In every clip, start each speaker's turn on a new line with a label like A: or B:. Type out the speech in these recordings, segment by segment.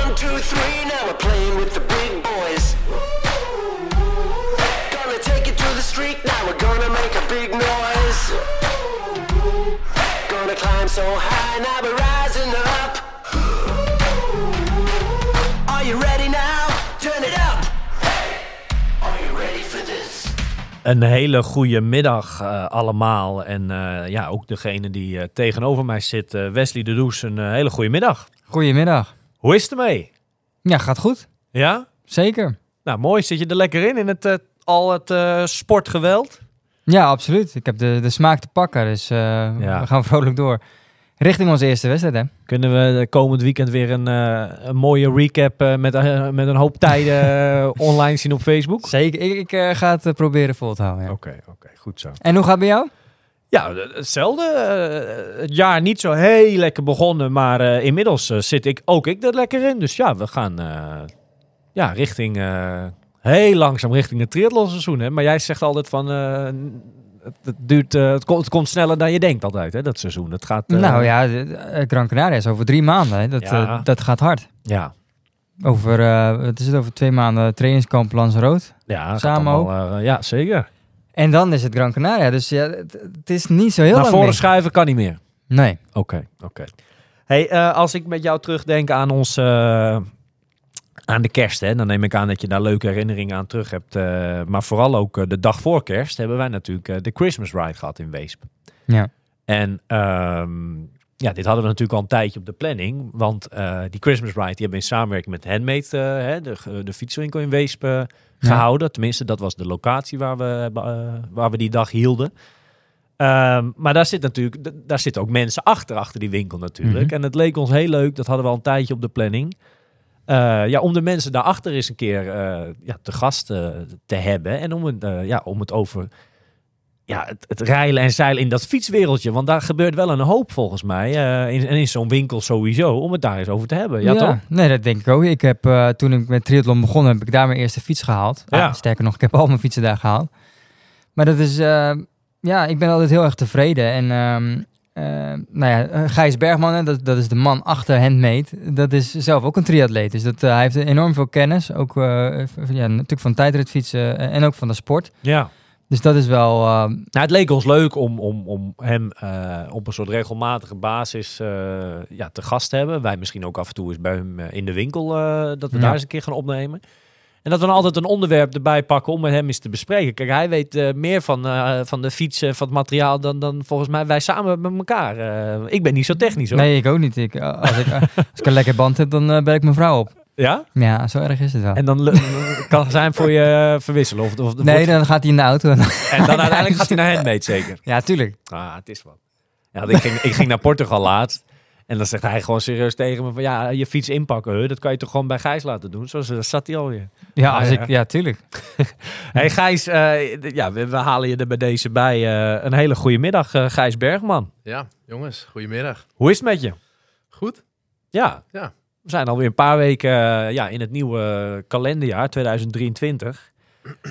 A: One, two, three, now we're playing with the big boys. Gonna take it to the street, now we're gonna make a big noise. Gonna climb so high, now we're rising up. Are you ready now? Turn it up. Are you ready for this?
B: Een hele goede middag eh, allemaal. En eh, ja, ook degene die eh, tegenover mij zit, eh, Wesley de Does, een eh, hele goede middag.
C: Goedemiddag.
B: Hoe is het ermee?
C: Ja, gaat goed.
B: Ja?
C: Zeker.
B: Nou, mooi. Zit je er lekker in, in het, eh, al het eh, sportgeweld?
C: Ja, absoluut. Ik heb de, de smaak te pakken, dus eh,
B: Ja.
C: we gaan vrolijk door. Richting onze eerste wedstrijd, hè?
B: Kunnen we eh, komend weekend weer een, eh, een mooie recap eh, met, eh, met een hoop tijden eh, online zien op Facebook?
C: Zeker. Ik, ik eh, ga het eh, proberen vol te houden, ja.
B: oké, goed zo.
C: En hoe gaat het bij jou?
B: Ja, eh, hetzelfde. eh, Het jaar niet zo heel lekker begonnen, maar eh, inmiddels eh, zit ik, ook ik er lekker in. Dus ja, we gaan eh, ja, richting, eh, heel langzaam richting het triathlonseizoen. Hè? Maar jij zegt altijd van, eh, het, het duurt, eh, het, komt, het komt sneller dan je denkt altijd, hè, dat seizoen. Dat gaat, eh,
C: Nou ja, de- de- eh, Gran Canaria is over drie maanden. Hè. Dat,
B: Ja.
C: eh, dat gaat hard.
B: Ja,
C: Over, eh, wat is het, over twee maanden trainingskamp Lanzarote.
B: ja, het
C: Samen
B: gaat allemaal, eh, ja zeker.
C: En dan is het Gran Canaria, dus ja, het, het is niet zo heel
B: Naar
C: lang
B: voren
C: meer.
B: schuiven kan niet meer.
C: Nee.
B: Oké, oké. Hey, eh, als ik met jou terugdenk aan ons, eh, aan de kerst, hè, dan neem ik aan dat je daar leuke herinneringen aan terug hebt. eh, maar vooral ook eh, de dag voor kerst hebben wij natuurlijk eh, de Christmas Ride gehad in Weesp.
C: Ja.
B: En ehm, ja, dit hadden we natuurlijk al een tijdje op de planning, want eh, die Christmas Ride die hebben we in samenwerking met Handmade, eh, hè, de, ge- de fietswinkel in Weesp, eh, gehouden. Tenminste, dat was de locatie waar we, hebben, eh, waar we die dag hielden. Ehm, maar daar zit natuurlijk, d- daar zitten ook mensen achter, achter die winkel natuurlijk.
C: Mhm.
B: En het leek ons heel leuk, dat hadden we al een tijdje op de planning. eh, ja, om de mensen daarachter eens een keer eh, ja, te gast eh, te hebben. En om het, eh, ja, om het over ja, het, het rijlen en zeilen in dat fietswereldje. Want daar gebeurt wel een hoop volgens mij. eh, in, en in zo'n winkel sowieso. Om het daar eens over te hebben. Eh, Ja, toch?
C: Nee, dat denk ik ook. Ik heb, eh, toen ik met triathlon begon, heb ik daar mijn eerste fiets gehaald.
B: Ja.
C: Ah, sterker nog, ik heb al mijn fietsen daar gehaald. Maar dat is, eh, ja, ik ben altijd heel erg tevreden. En ehm, eh, nou ja, eh, Gijs Bergman, hè, dat, dat is de man achter Handmade, dat is zelf ook een triatleet. Dus dat, eh, hij heeft enorm veel kennis, ook eh, v- ja, natuurlijk van tijdritfietsen eh, en ook van de sport.
B: Ja.
C: Dus dat is wel, eh,
B: Nou, het leek ons leuk om, om, om hem eh, op een soort regelmatige basis eh, ja, te gast te hebben. Wij misschien ook af en toe eens bij hem eh, in de winkel, eh, dat we
C: Ja.
B: daar eens een keer gaan opnemen. En dat we dan altijd een onderwerp erbij pakken om met hem eens te bespreken. Kijk, hij weet eh, meer van, eh, van de fietsen, van het materiaal, dan, dan volgens mij wij samen met elkaar. Eh, ik ben niet zo technisch hoor.
C: nee, ik ook niet. Ik, eh, als, ik, eh, als ik een lekker band heb, dan eh bel ik mijn vrouw op.
B: Ja?
C: Ja, zo erg is het wel.
B: En dan le- kan zijn voor je eh, verwisselen. Of, of,
C: Nee, dan gaat hij in de auto. en-
B: En dan uiteindelijk gaat hij naar Handmade zeker.
C: ja, tuurlijk.
B: Ah, het is wat. Ja, want ik, ging, ik ging naar Portugal laatst. En dan zegt hij gewoon serieus tegen me van... Ja, je fiets inpakken, huh, dat kan je toch gewoon bij Gijs laten doen? Zo zo zat hij alweer.
C: Ja,
B: Ah,
C: als
B: ja.
C: Ik, ja, tuurlijk.
B: hey Gijs, eh, d- ja, we, we halen je er bij deze bij. eh, een hele goede middag, eh, Gijs Bergman.
D: Ja, jongens, goedemiddag.
B: Hoe is het met je?
D: Goed?
B: Ja,
D: Ja.
B: we zijn alweer een paar weken eh, ja, in het nieuwe kalenderjaar 2023.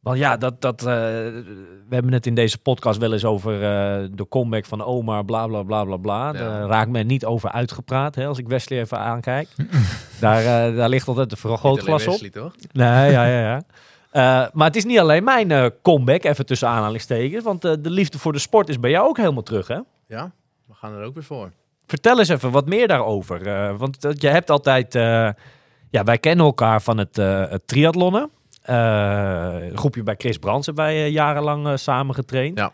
B: Want ja, dat, dat, eh, we hebben het in deze podcast wel eens over eh, de comeback van Omar, bla bla bla bla bla. Daar raakt men niet over uitgepraat, hè, als ik Wesley even aankijk. daar, eh, daar ligt altijd de vergrootglas op.
D: Wesley, toch?
B: Nee, ja, ja, ja. Eh, maar het is niet alleen mijn eh, comeback, even tussen aanhalingstekens. Want eh, de liefde voor de sport is bij jou ook helemaal terug, hè?
D: Ja, we gaan er ook weer voor.
B: Vertel eens even wat meer daarover. eh, want eh, je hebt altijd... eh, ja, wij kennen elkaar van het, eh, het triathlonnen. Eh, een groepje bij Chris Brands hebben wij eh, jarenlang eh, samen getraind.
D: Ja.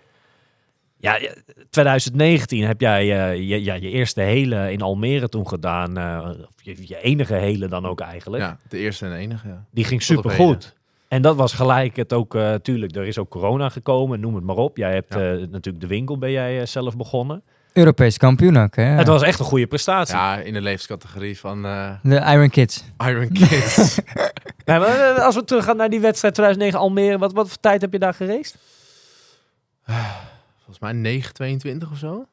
B: Ja, eh, 2019 heb jij eh, je, ja, je eerste hele in Almere toen gedaan. eh, of je, je enige hele dan ook eigenlijk.
D: Ja, de eerste en enige. Ja.
B: Die ging
D: Tot op
B: supergoed. En dat was gelijk het ook, eh tuurlijk, er is ook corona gekomen, noem het maar op. Jij hebt
D: Ja.
B: eh, natuurlijk de winkel, ben jij eh, zelf begonnen.
C: Europees kampioen ook, hè?
B: Het was echt een goede prestatie.
D: ja, in de leeftijdscategorie van eh,
C: De Iron Kids.
D: Iron Kids.
B: Nee, maar, eh, als we teruggaan naar die wedstrijd 2009 Almere, wat, wat voor tijd heb je daar geraced?
D: Volgens mij 9,22 of zo.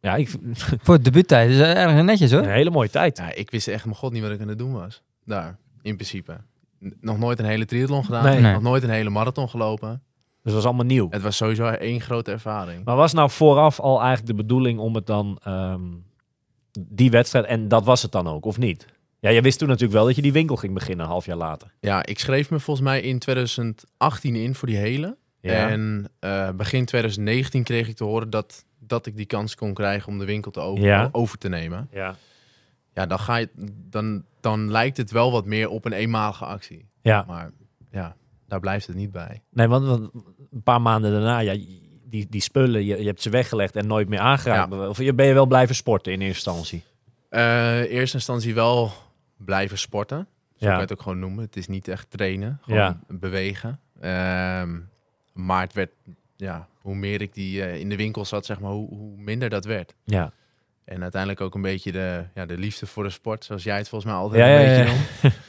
B: Ja, ik,
C: Voor het debuuttijd. Dus erg netjes, hoor.
B: een hele mooie tijd.
D: Ja, ik wist echt mijn god niet wat ik aan het doen was. Daar, in principe. N- Nog nooit een hele triathlon gedaan.
B: Nee.
C: Nee.
D: Nog nooit een hele marathon gelopen.
B: Dus dat is allemaal nieuw.
D: Het was sowieso één grote ervaring.
B: Maar was nou vooraf al eigenlijk de bedoeling om het dan ehm, die wedstrijd en dat was het dan ook, of niet? Ja, jij wist toen natuurlijk wel dat je die winkel ging beginnen een half jaar later.
D: Ja, ik schreef me volgens mij in 2018 in voor die hele.
B: Ja.
D: En eh, begin 2019 kreeg ik te horen dat, dat ik die kans kon krijgen om de winkel te over,
B: Ja.
D: over te nemen.
B: ja.
D: Ja, dan, ga je, dan, dan lijkt het wel wat meer op een eenmalige actie.
B: Ja.
D: Maar ja, daar blijft het niet bij.
B: Nee, want, want een paar maanden daarna, ja, die, die spullen, je, je hebt ze weggelegd en nooit meer aangeraakt. Of je ben je wel blijven sporten in eerste instantie?
D: Eh, in eerste instantie wel blijven sporten. Zo kan
B: Ja.
D: je het ook gewoon noemen. Het is niet echt trainen, gewoon
B: Ja.
D: bewegen. Ehm, maar het werd, ja, hoe meer ik die eh, in de winkel zat, zeg maar, hoe, hoe minder dat werd.
B: Ja.
D: En uiteindelijk ook een beetje de, ja, de liefde voor de sport, zoals jij het volgens mij altijd
B: Ja, ja,
D: een
B: ja,
D: beetje noemt.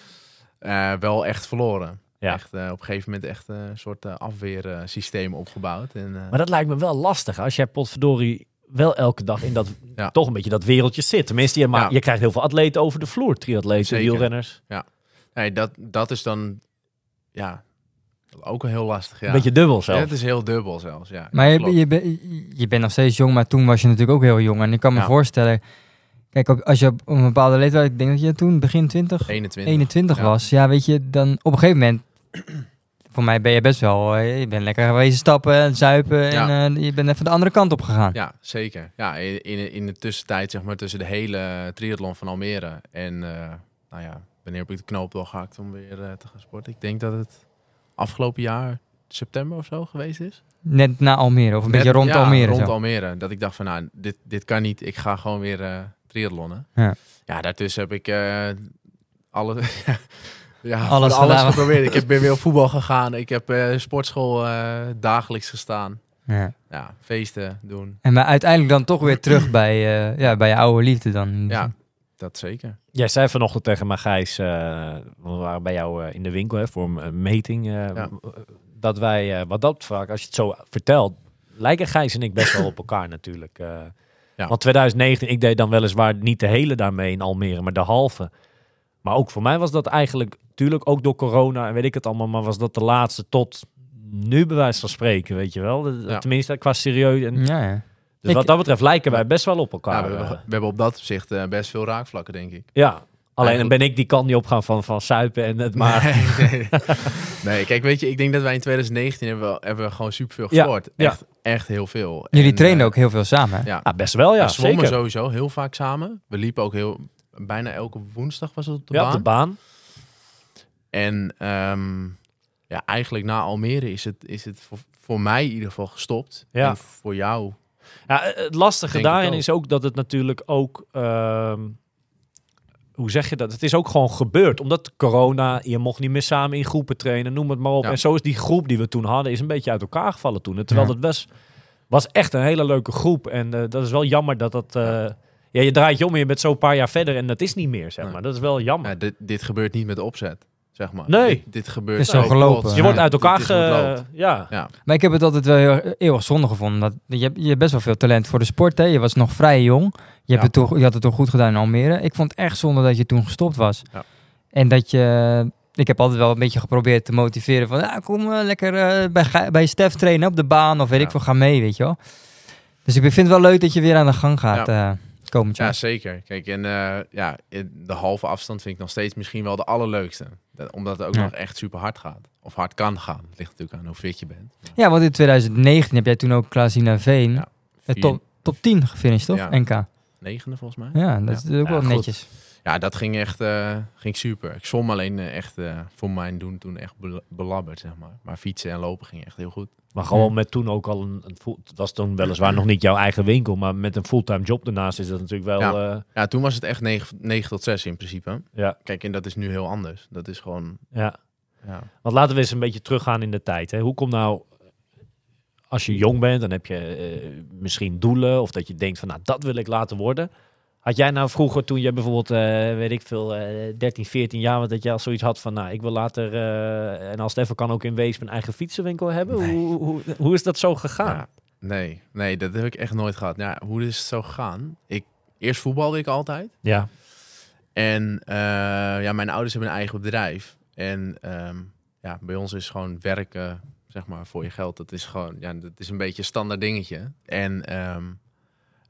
D: Eh, wel echt verloren.
B: Ja.
D: Echt, eh, op een gegeven moment echt eh, een soort afweersysteem opgebouwd. En, eh,
B: Maar dat lijkt me wel lastig als jij potverdorie wel elke dag in dat
D: Ja.
B: toch een beetje dat wereldje zit. Tenminste, je, ma-
D: Ja.
B: je krijgt heel veel atleten over de vloer, triatleten,
D: Zeker.
B: wielrenners.
D: nee, dat, dat is dan ja, ook heel lastig. Ja.
B: Een beetje dubbel zelf.
D: Ja, het is heel dubbel zelfs. Ja,
C: Maar je,
D: Klopt.
C: je, ben- je bent nog steeds jong, maar toen was je natuurlijk ook heel jong. En ik kan me
D: Ja.
C: voorstellen, kijk, op- als je op een bepaalde leeftijd, ik denk dat je toen begin 20,
D: 21.
C: 21
D: ja.
C: was, ja, weet je, dan op een gegeven moment, voor mij ben je best wel, eh, je bent lekker geweest stappen en zuipen en eh, je bent even de andere kant op gegaan.
D: Ja, zeker. Ja, in, in- in de tussentijd, zeg maar, tussen de hele triathlon van Almere en, eh, nou ja, wanneer heb ik de knoop doorgehakt om weer eh, te gaan sporten? Ik denk dat het afgelopen jaar september of zo geweest is.
C: Net na Almere, of een beetje
D: Net-
C: rond
D: ja,
C: Almere.
D: rond
C: zo.
D: Almere. Dat ik dacht van, nou, dit, dit kan niet. Ik ga gewoon weer eh triathlonnen.
C: Ja.
D: ja, daartussen heb ik eh, alle... Ja,
C: Alles
D: alles, alles
C: gedaan.
D: geprobeerd. Ik heb weer weer op voetbal gegaan. Ik heb eh, sportschool eh, dagelijks gestaan.
C: Ja.
D: Ja, feesten doen.
C: En maar uiteindelijk dan toch weer terug bij, eh, ja, bij je oude liefde dan.
D: Ja, dat zeker.
B: Jij zei vanochtend tegen mij, Gijs, eh, want we waren bij jou eh, in de winkel hè, voor een, een meting. eh, w- eh, Dat wij, eh, wat dat vaak, als je het zo vertelt, lijken Gijs en ik best wel op elkaar natuurlijk. eh.
D: Ja.
B: Want 2019, ik deed dan weliswaar niet de hele daarmee in Almere, maar de halve. Maar ook voor mij was dat eigenlijk, tuurlijk ook door corona en weet ik het allemaal, maar was dat de laatste tot nu bij wijze van spreken, weet je wel. De-
D: Ja.
B: Tenminste, qua serieus. En,
C: Ja, ja.
B: Dus
C: Ik-
B: wat dat betreft lijken wij best wel op elkaar.
D: Ja, we, hebben,
B: eh.
D: we hebben op dat opzicht eh, best veel raakvlakken, denk ik.
B: Ja, alleen dan
D: Eigenlijk-
B: ben ik die kant niet opgaan van, van suipen en het maar.
D: nee, nee, kijk, weet je, ik denk dat wij in 2019 hebben, we, hebben we gewoon superveel
B: Ja,
D: gesport.
B: ja.
D: Echt, echt heel veel.
C: Jullie
D: En,
C: trainen
D: eh,
C: ook heel veel samen. hè?
D: Ja,
B: Ja, best wel, ja.
D: we zwommen
B: Zeker.
D: sowieso heel vaak samen. We liepen ook heel, bijna elke woensdag was het op de
B: ja, op
D: baan.
B: de baan.
D: En ehm, ja, eigenlijk na Almere is het, is het voor, voor mij in ieder geval gestopt.
B: Ja.
D: En voor jou.
B: Ja, eh, het lastige
D: Denk
B: daarin
D: ik ook.
B: is ook dat het natuurlijk ook... ehm, hoe zeg je dat? Het is ook gewoon gebeurd. Omdat corona, je mocht niet meer samen in groepen trainen, noem het maar op.
D: Ja.
B: En zo is die groep die we toen hadden, is een beetje uit elkaar gevallen toen. En Terwijl
C: Ja.
B: dat best, was echt een hele leuke groep. En eh, dat is wel jammer dat dat... eh, ja, je draait je om en je bent zo een paar jaar verder en dat is niet meer, zeg
D: Nee.
B: maar. Dat is wel jammer.
D: Ja, dit, dit gebeurt niet met opzet, zeg maar.
B: Nee.
D: Dit, dit gebeurt
C: Het is zo
D: ook
C: gelopen.
D: plots.
B: Dus je wordt
D: Ja,
B: uit
D: dit
B: elkaar...
D: is hoe het loopt.
B: Ge... Ja.
D: Ja.
C: Maar ik heb het altijd wel heel, erg- eeuwig zonde gevonden. Dat, je, hebt, je hebt best wel veel talent voor de sport. Hè? Je was nog vrij jong. Je, hebt
D: Ja.
C: het toch, je had het toch goed gedaan in Almere. Ik vond het echt zonde dat je toen gestopt was.
D: Ja.
C: En dat je... Ik heb altijd wel een beetje geprobeerd te motiveren van... Ja, kom eh, lekker eh, bij, Gij- bij Stef trainen op de baan of weet
D: Ja.
C: ik veel. Ga mee, weet je wel. Dus ik vind het wel leuk dat je weer aan de gang gaat eh, komend
D: Ja,
C: jaar.
D: zeker. Kijk, en eh, ja, de halve afstand vind ik nog steeds misschien wel de allerleukste. Dat- Omdat het ook
C: Ja.
D: nog echt super hard gaat. Of hard kan gaan. Het ligt natuurlijk aan hoe fit je bent.
C: Ja. want in 2019 heb jij toen ook Klaasina Veen...
D: Ja.
C: eh, top, top 10 gefinished, toch?
D: Ja.
C: NK.
D: Negende volgens mij. Ja,
C: Ja, dat is ook
B: Ja,
C: wel
B: goed.
C: netjes.
D: dat ging echt eh, ging super. Ik zwom alleen eh, echt eh, voor mijn doen toen echt bel- belabberd, zeg maar. Maar fietsen en lopen ging echt heel goed.
B: Maar gewoon met toen ook al een, een full- het was toen weliswaar nog niet jouw eigen winkel, maar met een fulltime job daarnaast is dat natuurlijk wel. eh, Ja,
D: Ja, toen was het echt 9, 9 tot 6 in principe.
B: ja,
D: Kijk, en dat is nu heel anders. Dat is gewoon,
B: ja.
D: ja,
B: Want laten we eens een beetje teruggaan in de tijd. Hè. Hoe komt nou, als je jong bent, dan heb je eh, misschien doelen of dat je denkt van, nou dat wil ik laten worden. Had jij nou vroeger, toen je bijvoorbeeld, eh, weet ik veel, eh 13, 14 jaar, was, dat je al zoiets had van, nou ik wil later, eh, en als het even kan ook in Wees, mijn eigen fietsenwinkel hebben?
D: Nee.
B: Hoe, hoe, hoe is dat zo gegaan?
D: Ja, nee, nee, dat heb ik echt nooit gehad. Ja, hoe is het zo gegaan? Ik, eerst voetbalde ik altijd.
B: Ja,
D: En eh, ja, mijn ouders hebben een eigen bedrijf. En ehm, ja, bij ons is gewoon werken, zeg maar, voor je geld. Dat is gewoon, ja, dat is een beetje een standaard dingetje. En ehm,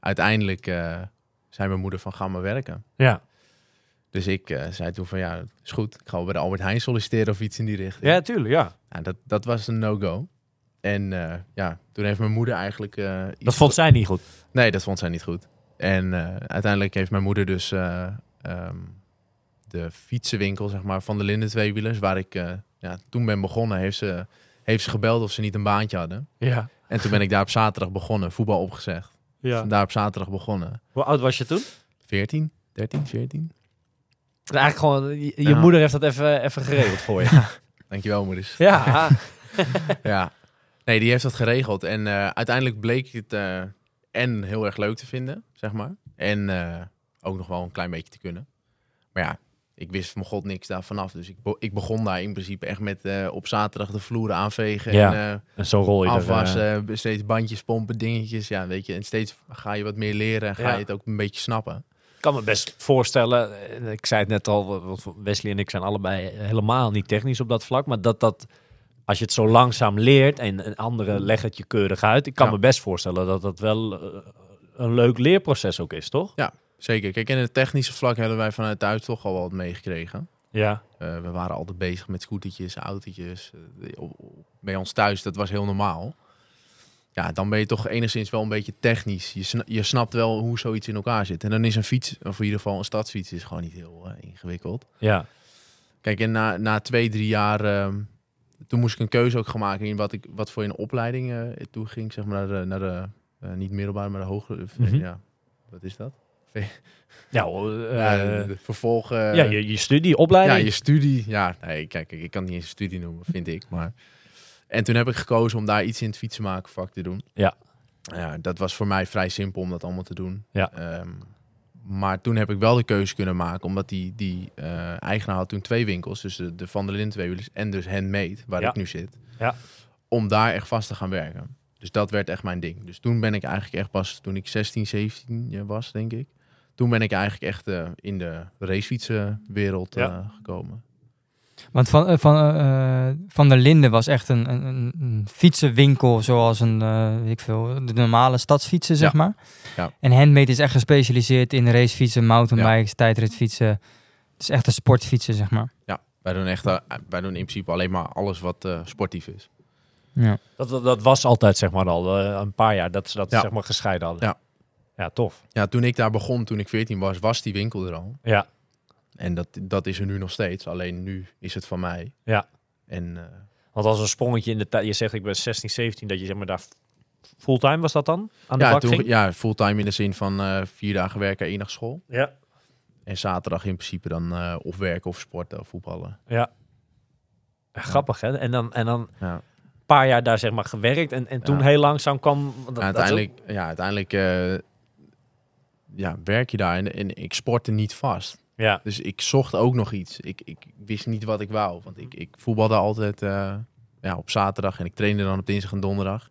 D: uiteindelijk eh, zei mijn moeder van, ga maar werken.
B: Ja.
D: Dus ik eh, zei toen van, ja, is goed. Ik ga wel bij de Albert Heijn solliciteren of iets in die richting.
B: ja, tuurlijk, ja.
D: Nou, dat, dat was een no-go. En eh, ja, toen heeft mijn moeder eigenlijk... eh, iets
B: Dat vond zij niet goed.
D: Nee, dat vond zij niet goed. En eh, uiteindelijk heeft mijn moeder dus eh, ehm, de fietsenwinkel zeg maar, van de Linden Tweewielers, waar ik eh, ja, toen ben begonnen, heeft ze, heeft ze gebeld of ze niet een baantje hadden.
B: Ja.
D: En toen ben ik daar op zaterdag begonnen, voetbal opgezegd.
B: ja.
D: Daar op zaterdag begonnen.
B: Hoe oud was je toen?
D: 14, 13, 14.
B: Nou, Eigenlijk gewoon, je, je
D: Ja.
B: moeder heeft dat even, even geregeld voor je.
D: Dankjewel, moeders.
B: ja.
D: ja. Nee, die heeft dat geregeld. En eh, uiteindelijk bleek het eh, en heel erg leuk te vinden, zeg maar. En eh, ook nog wel een klein beetje te kunnen. Maar ja, ik wist van god niks daar vanaf. Dus ik, be- ik begon daar in principe echt met eh, op zaterdag de vloeren aanvegen.
B: Ja.
D: En, eh,
B: En zo rol je er, eh,
D: afwassen, b- steeds bandjes pompen, dingetjes. Ja, weet je. En steeds ga je wat meer leren en ga
B: Ja.
D: je het ook een beetje snappen.
B: Ik kan me best voorstellen, en ik zei het net al, want Wesley en ik zijn allebei helemaal niet technisch op dat vlak, maar dat dat, als je het zo langzaam leert en een andere legt het je keurig uit, ik kan
D: Ja.
B: me best voorstellen dat dat wel eh, een leuk leerproces ook is, toch?
D: Zeker. Kijk, in het technische vlak hebben wij vanuit thuis toch al wat meegekregen.
B: Ja.
D: Eh, we waren altijd bezig met scootertjes, autootjes. Eh, op- op- bij ons thuis, dat was heel normaal. Ja, dan ben je toch enigszins wel een beetje technisch. Je, sna- je snapt wel hoe zoiets in elkaar zit. En dan is een fiets, of in ieder geval een stadsfiets, is gewoon niet heel eh, ingewikkeld.
B: Ja.
D: Kijk, en na, na twee, drie jaar... ehm, toen moest ik een keuze ook gaan maken in wat, ik, wat voor een opleiding eh toe ging. Zeg maar naar de, naar de eh, niet middelbare, maar de hogere... of, eh,
B: Mhm.
D: Ja, wat is dat?
B: Ja, hoor, eh,
D: ja, de- de vervolg... eh,
B: ja je, je studie, opleiding.
D: Ja, je studie. Ja, nee, kijk, ik ik kan het niet eens een studie noemen, vind ik. Maar... En toen heb ik gekozen om daar iets in het fietsenmakenvak te doen.
B: Ja.
D: ja. Dat was voor mij vrij simpel om dat allemaal te doen.
B: Ja.
D: Ehm, maar toen heb ik wel de keuze kunnen maken, omdat die, die eh, eigenaar had toen twee winkels. Dus de, de Van der Linden tweewielers en dus Handmade, waar
B: Ja.
D: ik nu zit.
B: Ja.
D: Om daar echt vast te gaan werken. Dus dat werd echt mijn ding. Dus toen ben ik eigenlijk echt pas, toen ik 16, 17 jaar was, denk ik. Toen ben ik eigenlijk echt eh, in de racefietsenwereld
B: Ja.
D: eh, gekomen.
C: Want Van, eh, van, eh, eh, van der Linden was echt een, een, een- een fietsenwinkel, zoals een, eh, weet ik veel, de normale stadsfietsen, zeg
D: Ja.
C: maar.
D: Ja.
C: En Handmade is echt gespecialiseerd in racefietsen, mountainbikes, tijdritfietsen. Het is echt een sportfietsen, zeg maar.
D: Wij doen, echt, eh, wij doen in principe alleen maar alles wat eh, sportief is.
C: Ja.
B: Dat, dat, dat was altijd zeg maar al eh, een paar jaar dat ze dat
D: Ja.
B: zeg maar gescheiden hadden.
D: Ja.
B: Ja, tof.
D: Ja, toen ik daar begon, toen ik 14 was, was die winkel er al.
B: Ja.
D: En dat, dat is er nu nog steeds. Alleen nu is het van mij.
B: Ja.
D: En eh,
B: Want als een sprongetje in de tijd, je zegt ik ben 16, 17, dat je zeg maar daar fulltime was dat dan? Aan de
D: ja,
B: bak
D: toen,
B: ging?
D: ja, fulltime in de zin van eh, vier dagen werken, één dag school.
B: ja.
D: En zaterdag in principe dan eh, of werken of sporten of voetballen.
B: Ja. Ja, Grappig, hè? En dan, en dan
D: Ja.
B: een paar jaar daar zeg maar gewerkt. En, en toen
D: Ja.
B: heel langzaam kwam... want dat-
D: Ja,
B: dat is
D: uiteindelijk, ja, uiteindelijk eh, ja, werk je daar en, en ik sportte niet vast.
B: ook- ja.
D: Dus ik zocht ook nog iets. Ik, ik wist niet wat ik wou. Want ik, ik voetbalde altijd eh, ja, op zaterdag en ik trainde dan op dinsdag en donderdag.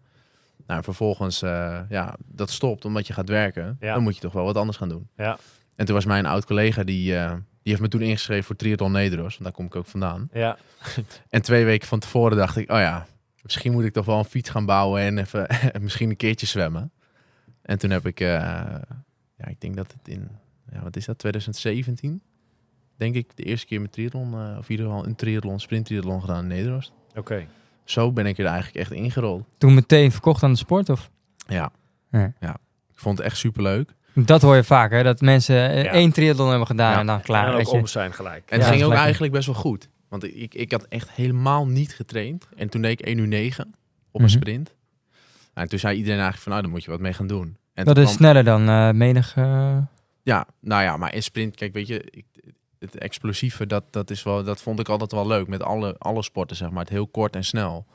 D: Nou, en vervolgens, eh, ja, dat stopt omdat je gaat werken.
B: Ja.
D: Dan moet je toch wel wat anders gaan doen.
B: Ja.
D: En toen was mijn oud collega, die, eh, die heeft me toen ingeschreven voor Triathlon Nederlands. Want daar kom ik ook vandaan.
B: Ja.
D: En twee weken van tevoren dacht ik, oh ja, misschien moet ik toch wel een fiets gaan bouwen en even, en misschien een keertje zwemmen. En toen heb ik, eh, ja, ik denk dat het in, ja, wat is dat, 2017? Denk ik de eerste keer met triathlon, eh, of in ieder geval een triathlon, sprint triathlon gedaan in Nederland.
B: Oké.
D: Zo ben ik er eigenlijk echt ingerold.
C: Toen meteen verkocht aan de sport, of?
D: Ja.
C: Ja.
D: Ik vond het echt superleuk.
C: Dat hoor je vaak, hè? Dat mensen eh,
B: Ja.
C: één triathlon hebben gedaan
D: Ja.
C: en dan klaar,
B: en dan
C: weet
B: ook
C: je.
B: om zijn gelijk.
D: En het
C: Ja,
D: ging
C: dat
D: ook
C: lijkt me.
D: eigenlijk best wel goed. Want ik, ik had echt helemaal niet getraind. En toen deed ik 1 uur 9 op
C: Mhm.
D: een sprint. Nou, en toen zei iedereen eigenlijk van, nou, daar moet je wat mee gaan doen. En
C: Dat
D: toen
C: is
D: kwam-
C: sneller dan eh, menig... eh,
D: Ja, nou ja, maar in sprint, kijk, weet je, ik, het explosieve, dat, dat, is wel, dat vond ik altijd wel leuk met alle, alle sporten, zeg maar. Het heel kort en snel.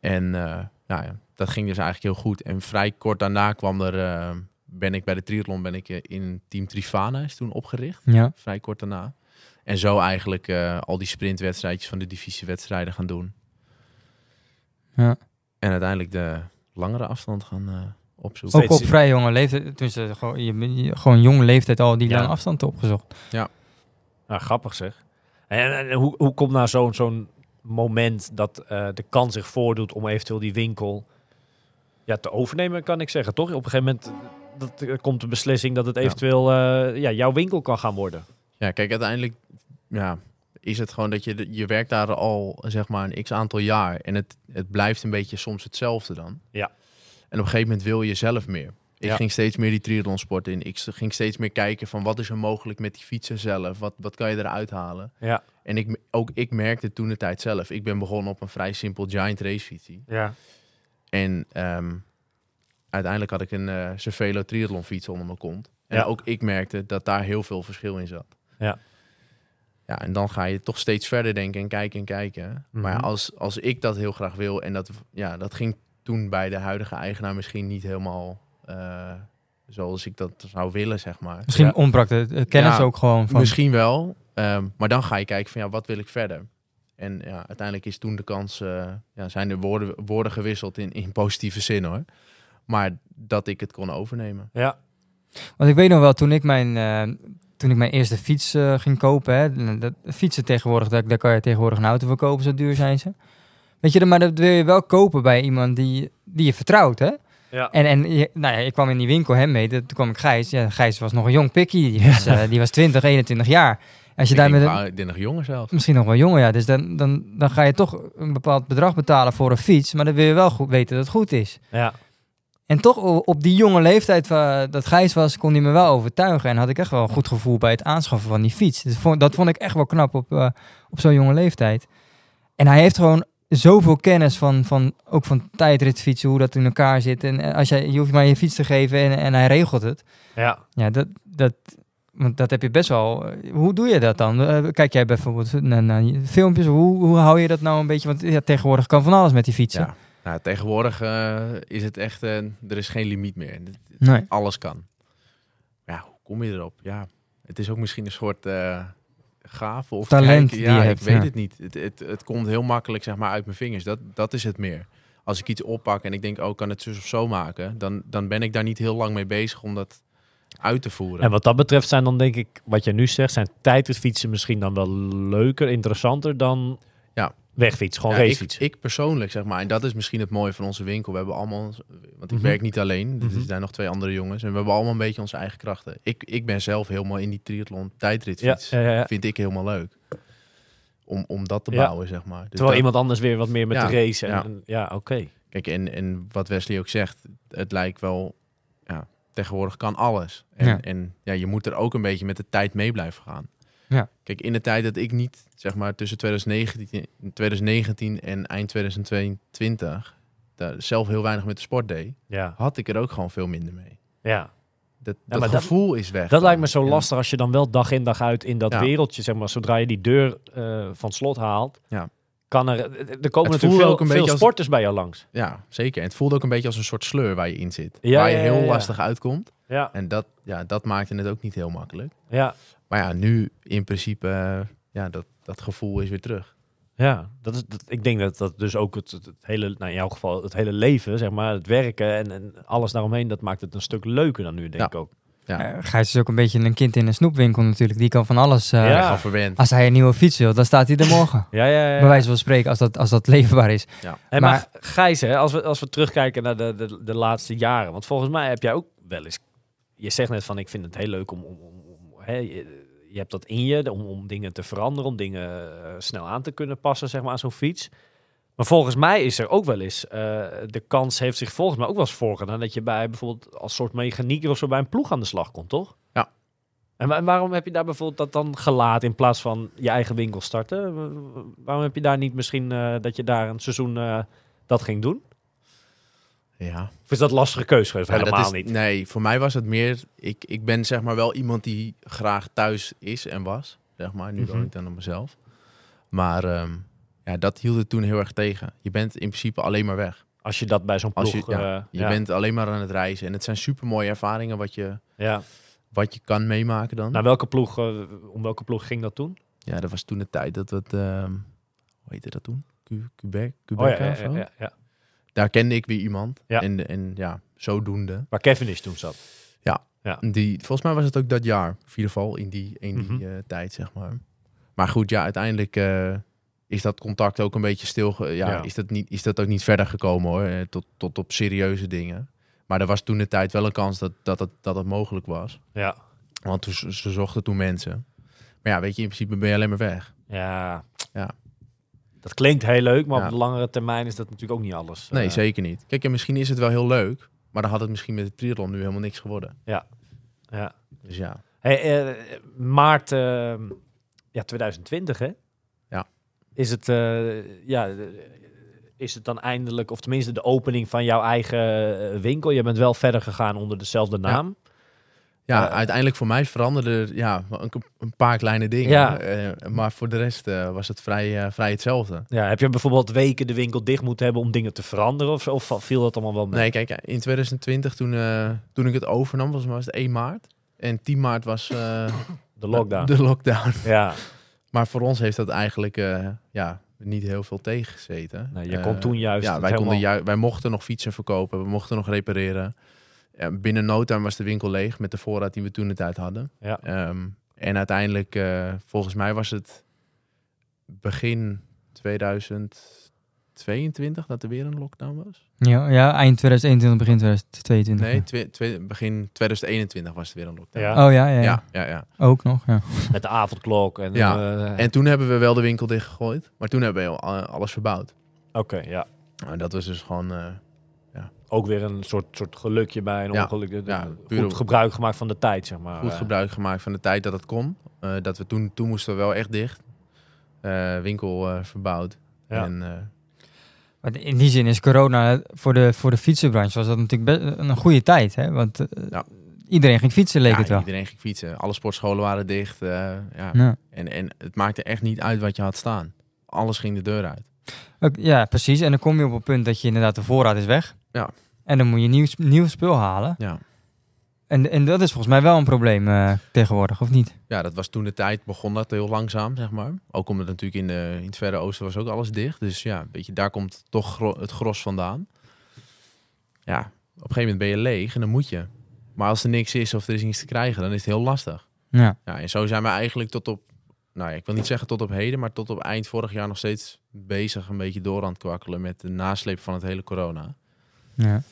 D: En eh, nou ja, dat ging dus eigenlijk heel goed. En vrij kort daarna kwam er, eh, ben ik bij de triathlon, ben ik eh, in Team Trifana is toen opgericht,
C: ja.
D: vrij kort daarna. En zo eigenlijk eh, al die sprintwedstrijdjes van de divisiewedstrijden gaan doen.
C: Ja.
D: En uiteindelijk de langere afstand gaan eh, opzoeken.
B: Steeds-
C: Ook op vrij jonge leeftijd. Tenminste, gewoon, je, bent- je- gewoon jonge leeftijd al die
B: Ja.
C: lange afstand opgezocht.
B: Nou, grappig zeg. En, en hoe, hoe komt nou zo'n zo'n moment dat eh, de kans zich voordoet om eventueel die winkel ja, te overnemen, kan ik zeggen, toch? Op een gegeven moment eh, dat, eh, komt de beslissing dat het
D: Ja.
B: eventueel eh, ja, jouw winkel kan gaan worden.
D: Ja, kijk, uiteindelijk ja, is het gewoon dat je, de- je werkt daar al zeg maar een x aantal jaar. En het, het blijft een beetje soms hetzelfde dan.
B: Ja.
D: En op een gegeven moment wil je zelf meer. Ik
B: Ja.
D: ging steeds meer die triathlonsport in. Ik s- ging steeds meer kijken van wat is er mogelijk met die fietsen zelf? Wat, wat kan je eruit halen?
B: Ja.
D: En ik, m- ook ik merkte toen de tijd zelf. Ik ben begonnen op een vrij simpel giant racefietsie.
B: Ja.
D: En ehm, uiteindelijk had ik een eh Cervelo triathlon fiets onder mijn kont. En
B: Ja.
D: ook ik merkte dat daar heel veel verschil in zat.
B: Ja.
D: Ja, en dan ga je toch steeds verder denken en kijken en kijken. Maar ja,
B: Mhm.
D: als, als ik dat heel graag wil, en dat, ja, dat ging toen bij de huidige eigenaar misschien niet helemaal eh, zoals ik dat zou willen, zeg maar.
C: Misschien
B: Ja.
C: ontbrak de de kennis
D: Ja,
C: ook gewoon van.
D: Misschien wel, ehm, maar dan ga je kijken van ja, wat wil ik verder? En ja, uiteindelijk is toen de kans, eh, ja, zijn er woorden, woorden gewisseld in, in positieve zin hoor. Maar dat ik het kon overnemen.
B: Ja.
C: Want ik weet nog wel, toen ik mijn, eh, toen ik mijn eerste fiets eh, ging kopen, hè, dat, fietsen tegenwoordig, daar, daar kan je tegenwoordig een auto voor kopen, zo duur zijn ze. Weet je, maar dat wil je wel kopen bij iemand die, die je vertrouwt, hè?
B: Ja.
C: En, en je- nou ja, ik kwam in die winkel hem mee, dat- toen kwam ik Gijs. Ja, Gijs was nog een jong pikkie, die was, eh, die was 20, 21 jaar. Als je
D: Ik
C: daar
D: denk,
C: met een,
D: nou, ik ben nog jonger zelf.
C: Misschien nog wel jonger, ja. Dus dan, dan, dan ga je toch een bepaald bedrag betalen voor een fiets. Maar dan wil je wel goed weten dat het goed is.
B: Ja.
C: En toch o- op die jonge leeftijd eh, dat Gijs was, kon hij me wel overtuigen. En had ik echt wel een goed gevoel bij het aanschaffen van die fiets. Dat vond, dat vond ik echt wel knap op, eh, op zo'n jonge leeftijd. En hij heeft gewoon zoveel kennis van, van ook van tijdritfietsen, hoe dat in elkaar zit. En eh, als jij, je hoeft maar je fiets te geven en, en hij regelt het.
B: Ja.
C: Ja, dat, dat, want dat heb je best wel. Hoe doe je dat dan? Eh, Kijk jij bijvoorbeeld naar, naar je filmpjes? Hoe, hoe hou je dat nou een beetje? Want ja, tegenwoordig kan van alles met die fietsen.
D: Ja. Nou, tegenwoordig eh, is het echt, eh, er is geen limiet meer. Dit-
C: Nee.
D: Alles kan. Ja, hoe kom je erop? Ja, het is ook misschien een soort eh gave of
C: Talent
D: kijk,
C: die
D: ja,
C: je
D: ik
C: hebt,
D: weet
C: ja.
D: het niet. Het, het, het komt heel makkelijk zeg maar uit mijn vingers. Dat, dat is het meer. Als ik iets oppak en ik denk, oh, ik kan het zus of zo maken, dan, dan ben ik daar niet heel lang mee bezig om dat uit te voeren.
B: En wat dat betreft zijn dan denk ik, wat je nu zegt, zijn tijdritfietsen misschien dan wel leuker, interessanter dan
D: Ja.
B: wegfiets, gewoon
D: Ja, ik,
B: racefietsen.
D: ik persoonlijk, zeg maar, en dat is misschien het mooie van onze winkel. We hebben allemaal, ons- want ik
B: Mhm.
D: werk niet alleen, dus
B: Mhm.
D: er zijn nog twee andere jongens. En we hebben allemaal een beetje onze eigen krachten. Ik, ik ben zelf helemaal in die triathlon
B: ja,
D: tijdritfiets.
B: ja, ja, ja.
D: Vind ik Dus helemaal leuk. Om, om dat te
B: Ja.
D: bouwen, zeg maar. Dus
B: Terwijl
D: dat-
B: iemand anders weer wat meer met
D: Ja,
B: de race. En,
D: ja.
B: en- ja, oké.
D: Kijk, en, en wat Wesley ook zegt, het lijkt wel, ja, tegenwoordig kan alles. En,
C: Ja.
D: en ja, je moet er ook een beetje met de tijd mee blijven gaan.
C: Ja.
D: Kijk, in de tijd dat ik niet, zeg maar, tussen 2019, 2019 en eind 2022 daar zelf heel weinig met de sport deed,
B: Ja,
D: had ik er ook gewoon veel minder mee.
B: ja.
D: Dat,
B: Ja,
D: dat
B: maar dat-
D: gevoel is weg.
B: Dat
D: dan.
B: lijkt me zo
D: En-
B: lastig als je dan wel dag in dag uit in dat
D: Ja.
B: wereldje, zeg maar, zodra je die deur eh, van slot haalt,
D: Ja.
B: kan er, er komen
D: voelt
B: natuurlijk veel,
D: ook een
B: veel
D: beetje als-
B: sporters bij jou langs.
D: Ja, zeker. En het voelde ook een beetje als een soort sleur waar je in zit.
B: Ja,
D: waar je
B: ja,
D: heel
B: ja, ja.
D: lastig uitkomt.
B: Ja,
D: En dat, ja, dat maakte het ook niet heel makkelijk.
B: ja,
D: Maar ja, nu in principe, eh, ja, dat, dat gevoel is weer terug.
B: ja. Dat is, dat, ik denk dat dat dus ook het, het, het hele, nou in jouw geval, het hele leven, zeg maar, het werken en, en alles daaromheen, dat maakt het een stuk leuker dan nu, denk
D: Ja.
B: ik ook.
D: Ja,
C: Eh, Gijs is ook een beetje een kind in een snoepwinkel natuurlijk. Die kan van alles. eh,
B: Ja.
D: ja. al verwend.
C: Als hij een nieuwe fiets wil, dan staat hij er morgen.
B: Ja, ja, ja.
C: Bij wijze van spreken, als dat, als dat leefbaar is.
B: Hey, maar, Gijs, hè, als, we, als we terugkijken naar de, de, de laatste jaren. Want volgens mij heb jij ook wel eens... Je zegt net van, ik vind het heel leuk om... om, om, om- hè, je, je hebt dat in je, om, om dingen te veranderen. Om dingen eh, snel aan te kunnen passen, zeg maar, aan zo'n fiets. Maar volgens mij is er ook wel eens... eh, de kans heeft zich volgens mij ook wel eens voorgedaan... dat je bij bijvoorbeeld als soort mechanieker of zo... bij een ploeg aan de slag komt, toch?
D: Ja.
B: En wa- waarom heb je daar bijvoorbeeld dat dan gelaten in plaats van je eigen winkel starten? Wa- Waarom heb je daar niet misschien eh, dat je daar een seizoen eh, dat ging doen?
D: Ja.
B: Of is dat een lastige keuze geweest?
D: Ja, dat
B: Helemaal
D: is-
B: niet.
D: Nee, voor mij was het meer, ik, ik ben zeg maar wel iemand die graag thuis is en was. Zeg maar, nu
B: Mhm.
D: woon ik dan op mezelf. Maar ehm, ja, dat hield het toen heel erg tegen. Je bent in principe alleen maar weg.
B: Als je dat bij zo'n ploeg...
D: Als je-
B: eh,
D: Je
B: ja,
D: bent alleen maar aan het reizen. En het zijn super mooie ervaringen wat je,
B: ja.
D: wat je kan meemaken dan.
B: Naar welke ploeg, eh, om welke ploeg ging dat toen?
D: Ja, dat was toen de tijd dat we het, ehm, hoe heette dat toen? Quebec, Quebec
B: Oh ja,
D: of zo?
B: ja, ja, ja.
D: daar kende ik weer iemand.
B: Ja.
D: En, en ja, zodoende.
B: Waar Kevin is toen zat.
D: Die, volgens mij was het ook dat jaar. Of in ieder geval in die, in die
B: Mhm.
D: eh, tijd, zeg maar. Maar goed, ja, uiteindelijk eh, is dat contact ook een beetje stil. Ja,
B: Ja.
D: Is, dat niet, is dat ook niet verder gekomen hoor. eh, tot, tot op serieuze dingen. Maar er was toen de tijd wel een kans dat dat, dat, dat het mogelijk was.
B: Ja.
D: Want toen, ze ze zochten toen mensen. Maar ja, weet je, in principe ben je alleen maar weg.
B: Ja.
D: Ja.
B: Dat klinkt heel leuk, maar
D: Ja.
B: op de langere termijn is dat natuurlijk ook niet alles.
D: Nee,
B: Eh,
D: zeker niet. Kijk, en misschien is het wel heel leuk. Maar dan had het misschien met de triathlon nu helemaal niks geworden.
B: Ja.
D: Dus ja.
B: Hey, eh, maart eh, ja, 2020, hè?
D: Ja.
B: Is het, eh, ja, eh, is het dan eindelijk, of tenminste de opening van jouw eigen eh, winkel? Je bent wel verder gegaan onder dezelfde naam.
D: Ja,
B: Eh.
D: uiteindelijk voor mij veranderde er, ja, een, een paar kleine dingen.
B: Ja.
D: Eh, maar voor de rest eh, was het vrij, eh, vrij hetzelfde.
B: Ja. heb je bijvoorbeeld weken de winkel dicht moeten hebben om dingen te veranderen? Of, zo? of viel dat allemaal wel mee?
D: Nee, kijk, in 2020 toen, eh, toen ik het overnam, volgens mij was het 1 maart. En 10 maart was eh,
B: De lockdown.
D: de lockdown.
B: Ja,
D: Maar voor ons heeft dat eigenlijk eh, ja, niet heel veel tegengezeten.
B: nee, je
D: Eh,
B: kon toen juist
D: Ja,
B: het
D: wij, konden
B: helemaal-
D: ju- wij mochten nog fietsen verkopen, we mochten nog repareren. Ja, binnen no time was de winkel leeg met de voorraad die we toen de tijd hadden.
B: Ja.
D: Ehm, en uiteindelijk, eh, volgens mij was het begin 2022 dat er weer een lockdown was.
C: Ja, ja, eind 2021, begin 2022.
D: Nee, twe- twe- begin 2021 was er weer een lockdown.
B: Ja.
C: Oh ja, ja, ja.
D: Ja, ja, ja.
C: ook nog. Ja.
B: met de avondklok. En,
D: Ja,
B: eh,
D: En toen hebben we wel de winkel dichtgegooid, maar toen hebben we al- alles verbouwd.
B: Oké, ja.
D: En dat was dus gewoon eh,
B: Ook weer een soort, soort gelukje bij een
D: Ja,
B: ongeluk. De- de-
D: ja, puur
B: goed
D: op-
B: gebruik gemaakt van de tijd, zeg maar.
D: goed
B: Eh,
D: gebruik gemaakt van de tijd dat het kon. Eh, dat we toen, toen moesten we wel echt dicht. Eh, winkel eh, verbouwd.
B: Ja.
D: En, eh,
C: Maar in die zin is corona voor de, voor de fietsenbranche was dat natuurlijk best een goede tijd. Hè? Want eh,
D: Ja.
C: iedereen ging fietsen, leek
D: ja,
C: het wel. Hm.
D: iedereen ging fietsen. Alle sportscholen waren dicht. eh, ja.
C: Ja.
D: En, en het maakte echt niet uit wat je had staan. Alles ging de deur uit.
C: Ook- ja, precies. En dan kom je op een punt dat je inderdaad de voorraad is weg.
D: Ja.
C: En dan moet je nieuw, nieuw spul halen.
D: Ja.
C: En, en dat is volgens mij wel een probleem eh, tegenwoordig, of niet?
D: Ja, dat was toen de tijd. Begon dat heel langzaam, zeg maar. Ook omdat natuurlijk in, de, in het Verre Oosten was ook alles dicht. Dus ja, weet je, daar komt toch gro- het gros vandaan. Ja, op een gegeven moment ben je leeg en dan moet je. Maar als er niks is of er is niets te krijgen, dan is het heel lastig.
C: Ja.
D: Ja, en zo zijn we eigenlijk tot op, nou ja, ik wil niet zeggen tot op heden, maar tot op eind vorig jaar nog steeds bezig een beetje door aan het kwakkelen met de nasleep van het hele corona.
C: ja.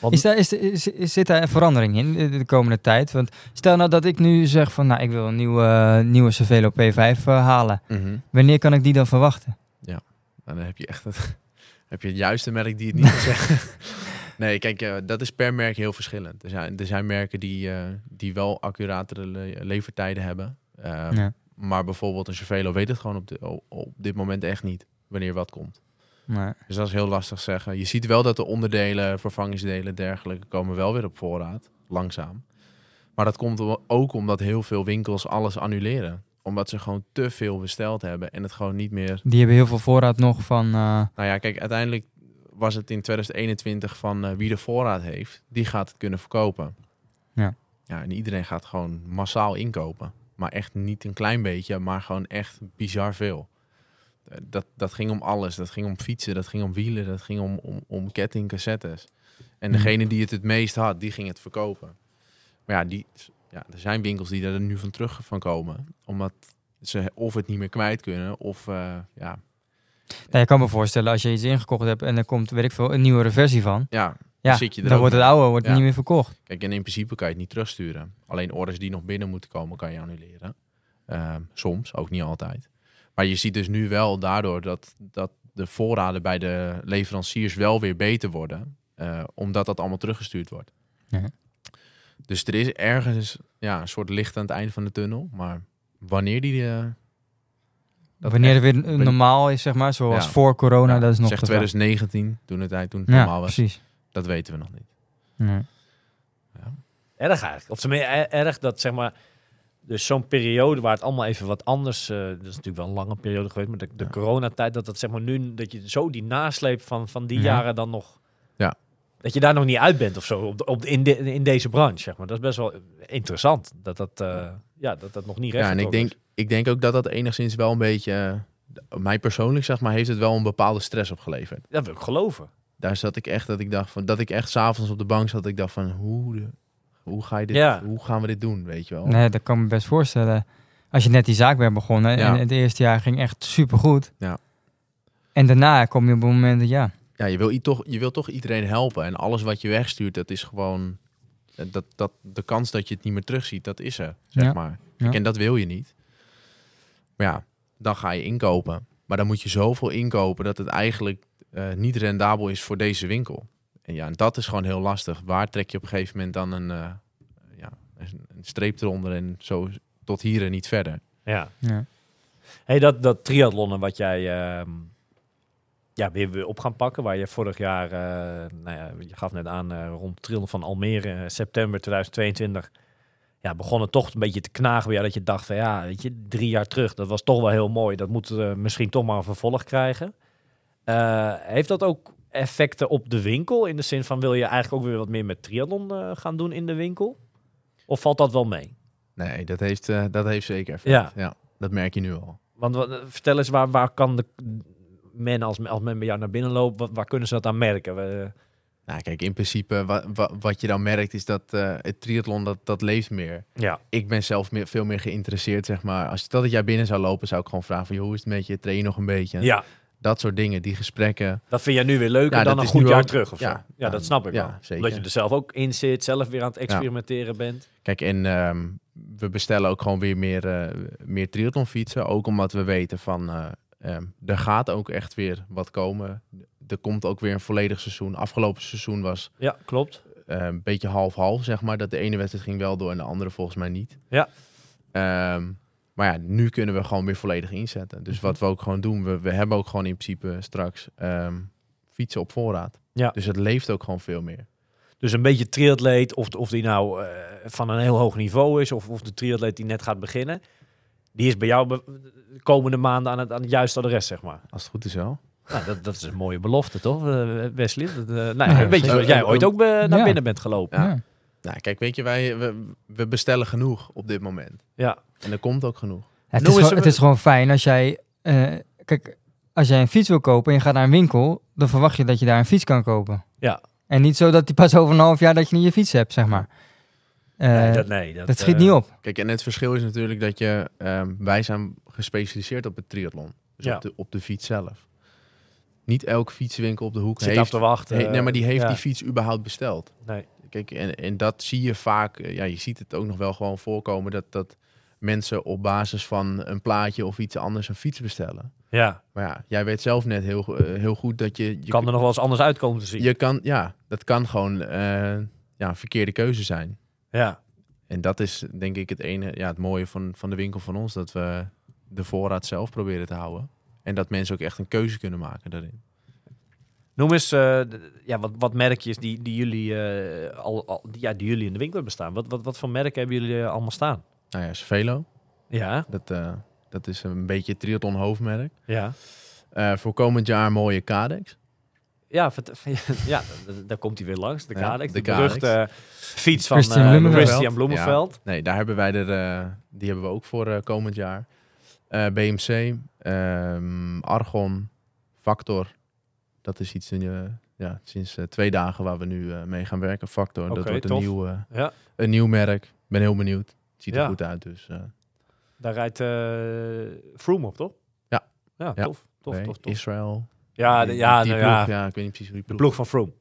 B: want-
C: Is daar, is, is- is- zit daar een verandering in de, de komende tijd? Want stel nou dat ik nu zeg van, nou, ik wil een nieuwe, nieuwe Cervelo P5 eh, halen. Wanneer kan ik die dan verwachten?
D: Nou, dan heb je echt het, heb je het juiste merk die het niet zegt. Nee, kijk, eh, dat is per merk heel verschillend. Er zijn, er zijn merken die, eh, die wel accuratere le- levertijden hebben. Eh,
C: Ja.
D: Maar bijvoorbeeld een Cervelo weet het gewoon op, de, op dit moment echt niet wanneer wat komt.
C: Maar,
D: Dus dat is heel lastig zeggen. Je ziet wel dat de onderdelen, vervangingsdelen en dergelijke komen wel weer op voorraad. Langzaam. Maar dat komt wel ook omdat heel veel winkels alles annuleren. Omdat ze gewoon te veel besteld hebben en het gewoon niet meer...
C: die hebben heel veel voorraad nog van... eh,
D: Nou ja, kijk, uiteindelijk was het in 2021 van eh, wie de voorraad heeft, die gaat het kunnen verkopen.
C: Ja.
D: Ja, en iedereen gaat gewoon massaal inkopen. Maar echt niet een klein beetje, maar gewoon echt bizar veel. Eh, Dat, dat ging om alles. Dat ging om fietsen, dat ging om wielen, dat ging om, om, om ketting, cassettes. En
C: Mhm.
D: degene die het het meest had, die ging het verkopen. Maar ja, die, ja er zijn winkels die er nu van terug van komen. Omdat ze of het niet meer kwijt kunnen, of eh, ja,
C: nou, je kan me voorstellen, als je iets ingekocht hebt en er komt, weet ik veel, een nieuwere versie van.
D: ja,
C: Ja,
D: zit je er
C: dan
D: ook
C: wordt het
D: mee.
C: oude wordt
D: Ja.
C: niet meer verkocht.
D: Kijk, en in principe kan je het niet terugsturen. Alleen orders die nog binnen moeten komen, kan je annuleren. Ehm, soms, ook niet altijd. Maar je ziet dus nu wel daardoor dat, dat de voorraden bij de leveranciers wel weer beter worden. eh, omdat dat allemaal teruggestuurd wordt.
C: Ja.
D: Dus er is ergens ja, een soort licht aan het einde van de tunnel. Maar wanneer die... eh,
C: Oh,
D: dat
C: Wanneer
D: echt-
C: het weer eh, normaal is, zeg maar, zoals
D: Ja.
C: voor corona,
D: ja,
C: nou, dat is nog
D: Zeg
C: de vraag.
D: 2019, toen het, tijd- toen het
C: Ja,
D: normaal was.
C: precies.
D: Dat weten we nog niet.
C: Ja.
B: Erg eigenlijk. Of tenminste, er- erg dat zeg maar. Dus zo'n periode waar het allemaal even wat anders. eh dat is natuurlijk wel een lange periode geweest. Maar de, de
D: Ja.
B: coronatijd, dat dat zeg maar nu. Dat je zo die nasleep van, van die
C: Ja.
B: jaren dan nog.
D: Mhm. Ja.
B: Dat je daar nog niet uit bent of zo. Op de, op de- in, de- in deze branche, zeg maar. Dat is best wel interessant. Dat dat, eh, ja, dat, dat nog niet recht
D: Ja, en ik denk, ik denk ook dat dat enigszins wel een beetje... eh, Mij persoonlijk, zeg maar, heeft het wel een bepaalde stress opgeleverd.
B: Dat wil ik geloven.
D: Daar zat ik echt dat ik dacht van dat ik echt s'avonds op de bank zat. dat Ik dacht van hoe, de, hoe ga je dit?
B: Ja.
D: Hoe gaan we dit doen? Weet je wel?
C: Nee, dat kan ik me best voorstellen. Als je net die zaak bent begonnen
D: Ja.
C: en het eerste jaar ging echt supergoed.
D: Ja.
C: En daarna kom je op een moment dat ja,
D: Ja, je wil, i- toch, je wil toch iedereen helpen. En alles wat je wegstuurt, dat is gewoon. eh, Dat, dat, de kans dat je het niet meer terugziet, dat is er. Zeg
C: Ja.
D: maar.
C: Ja.
D: En dat wil je niet. Maar ja, dan ga je inkopen. Maar dan moet je zoveel inkopen dat het eigenlijk eh, niet rendabel is voor deze winkel. En ja, en dat is gewoon heel lastig. Waar trek je op een gegeven moment dan een, eh, ja, een een streep eronder en zo tot hier en niet verder?
B: Ja.
C: ja.
B: Hey, dat, dat triathlonnen wat jij ehm, ja, weer, weer op gaan pakken, waar je vorig jaar, eh, nou ja, je gaf net aan, eh, rond het trillen van Almere, eh, september 2022, ja, begon het toch een beetje te knagen bij jou, dat je dacht van ja, weet je, drie jaar terug, dat was toch wel heel mooi, dat moet eh, misschien toch maar een vervolg krijgen. Eh, heeft dat ook effecten op de winkel, in de zin van wil je eigenlijk ook weer wat meer met triathlon eh, gaan doen in de winkel? Of valt dat wel mee?
D: Nee, dat heeft, eh, dat heeft zeker effect.
B: Ja.
D: ja, dat merk je nu al.
B: Want wat- vertel eens, waar, waar kan de men, als, men- als men bij jou naar binnen loopt, wa- waar, kunnen ze dat aan merken? We-
D: Nou, kijk, in principe wa- wa- wat je dan merkt is dat eh, het triathlon dat, dat leeft meer.
B: ja.
D: Ik ben zelf meer, veel meer geïnteresseerd, zeg maar. Als dat het jaar binnen zou lopen, zou ik gewoon vragen van, joh, hoe is het met je? Train je nog een beetje?
B: ja,
D: Dat soort dingen, die gesprekken.
B: dat vind jij nu weer leuker dan
D: Ja, dat
B: een
D: is
B: goed
D: nu
B: jaar
D: ook-
B: terug of zo.
D: ja,
B: Ja,
D: ja,
B: dat snap ik
D: ja,
B: wel.
D: zeker.
B: Dat je er zelf ook in zit, zelf weer aan het experimenteren bent.
D: Kijk, en ehm, we bestellen ook gewoon weer meer, eh, meer triathlonfietsen. Ook omdat we weten van, eh, ehm, er gaat ook echt weer wat komen. Er komt ook weer een volledig seizoen. Afgelopen seizoen was
B: Ja, klopt.
D: eh, een beetje half-half, zeg maar. Dat de ene wedstrijd ging wel door en de andere volgens mij niet.
B: Ja.
D: Ehm, maar ja, nu kunnen we gewoon weer volledig inzetten.
B: Mhm.
D: Dus wat we ook gewoon doen, we, we hebben ook gewoon in principe straks ehm, fietsen op voorraad.
B: Ja.
D: Dus het leeft ook gewoon veel meer.
B: Dus een beetje triatleet, of, of die nou eh, van een heel hoog niveau is, of, of de triatleet die net gaat beginnen, die is bij jou be- de komende maanden aan het, aan het juiste adres, zeg maar.
D: Als het goed is wel.
B: Nou, dat, dat is een mooie belofte, toch, eh, Wesley? Dat, eh, nou, ja,
C: Ja,
B: een beetje
D: zeker.
B: zoals jij ooit ook eh, naar
C: Ja.
B: binnen bent gelopen.
C: ja.
D: Ja. Nou, kijk, weet je, wij we, we bestellen genoeg op dit moment.
B: Ja.
D: En er komt ook genoeg.
C: Het,
B: Noem
C: is
B: eens-
C: gewoon, het is gewoon fijn als jij, eh, kijk, als jij een fiets wil kopen en je gaat naar een winkel, dan verwacht je dat je daar een fiets kan kopen.
B: Ja.
C: En niet zo dat die pas over een half jaar dat je niet je fiets hebt, zeg maar. Eh,
B: nee,
C: dat,
B: dat, nee, dat,
C: schiet
B: eh,
C: niet op.
D: Kijk, en het verschil is natuurlijk dat je, ehm, wij zijn gespecialiseerd op het triathlon. Dus
B: Ja.
D: op, de, op de fiets zelf. Niet elke fietswinkel op de hoek
B: Zit af
D: heeft
B: te wachten.
D: Hey, nee, maar die heeft
B: eh, ja.
D: die fiets überhaupt besteld.
B: Nee.
D: Kijk, en, en dat zie je vaak. eh, Ja, je ziet het ook nog wel gewoon voorkomen dat, dat mensen op basis van een plaatje of iets anders een fiets bestellen.
B: Ja,
D: Maar ja, jij weet zelf net heel, go- eh, heel goed dat je... je
B: kan er nog wel eens anders uitkomen te zien.
D: je kan, ja, dat kan gewoon eh, ja, een verkeerde keuze zijn.
B: ja.
D: En dat is denk ik het ene, ja, het mooie van, van de winkel van ons. Dat we de voorraad zelf proberen te houden. En dat mensen ook echt een keuze kunnen maken daarin.
B: Noem eens eh, d- ja, wat, wat merkjes die, die, jullie, eh, al, al- die- ja, die jullie in de winkel hebben staan. Wat, wat, wat voor merken hebben jullie eh, allemaal staan?
D: Nou ja, Svelo,
B: Ja,
D: dat, eh, dat is een beetje het triathlon hoofdmerk.
B: ja.
D: Eh, voor komend jaar mooie Cadex.
B: Ja, vert- ja d- daar komt hij weer langs. De
D: Ja,
B: Kadex,
D: de
B: de, beruchte eh, fiets van
C: Christian
B: eh,
C: Bloemenveld.
B: Christian Bloemenveld.
D: Nee, daar hebben wij er, eh, die hebben we ook voor eh, komend jaar. Eh, BMC, ehm, Argon, Factor. Dat is iets in, eh, ja, sinds eh, twee dagen waar we nu eh, mee gaan werken. Factor, dat
B: Oké,
D: wordt een
B: tof.
D: nieuw, eh,
B: Ja.
D: een nieuw merk. Ik ben heel benieuwd. Het ziet er
B: Ja.
D: goed uit, dus eh,
B: Daar rijdt eh Froome op, toch?
D: Ja.
B: Ja,
D: Ja.
B: tof. Tof,
D: nee,
B: tof, tof.
D: Israël.
B: Ja,
D: die-
B: de-
D: die-
B: ja,
D: die
B: nou ja,
D: ploeg, ja, ik weet niet precies hoe
B: de
D: die
B: ploeg van Froome.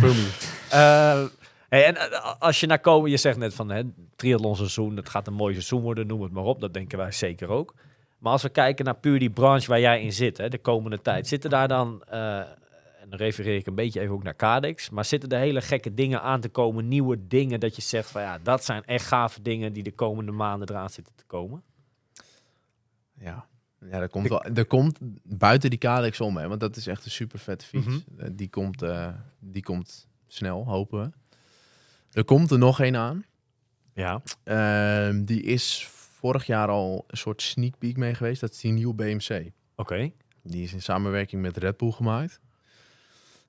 D: ploeg.
B: Eh, hey, en eh, als je naar komen, je zegt net van hè, triathlonseizoen, dat gaat een mooi seizoen worden, noem het maar op. Dat denken wij zeker ook. Maar als we kijken naar puur die branche waar jij in zit, hè, de komende tijd, zitten daar dan, eh, en dan refereer ik een beetje even ook naar Cadex, maar zitten er hele gekke dingen aan te komen, nieuwe dingen dat je zegt van ja, dat zijn echt gave dingen die de komende maanden eraan zitten te komen?
D: Ja, ja er, komt wel, er komt buiten die Kalex om, hè, want dat is echt een super vette fiets.
B: Mhm.
D: Eh, die, komt, eh, die komt snel, hopen we. Er komt er nog een aan.
B: Ja,
D: Ehm, die is vorig jaar al een soort sneak peek mee geweest. Dat is die nieuwe BMC.
B: oké.
D: Die is in samenwerking met Red Bull gemaakt.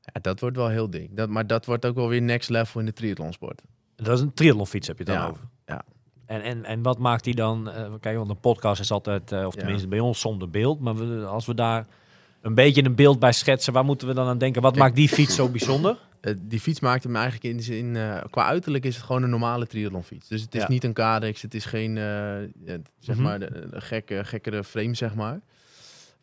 D: Ja, dat wordt wel heel dik. Dat, maar dat wordt ook wel weer next level in de triathlonsport.
B: Dat is een triathlonfiets heb je het dan
D: Ja,
B: over.
D: ja.
B: En, en, en wat maakt die dan? eh, kijk, want een podcast is altijd, eh, of
D: Ja.
B: tenminste bij ons zonder beeld. Maar we, als we daar een een beetje een beeld bij schetsen. Waar moeten we dan aan denken? Wat
D: Ik-
B: maakt die fiets zo bijzonder?
D: Eh, die fiets maakte me eigenlijk in de zin... eh, qua uiterlijk is het gewoon een normale triathlonfiets. Dus het is
B: Ja.
D: niet een Kadex, het is geen eh, eh, zeg
B: Mhm.
D: maar, de, de gekke, gekkere frame, zeg maar.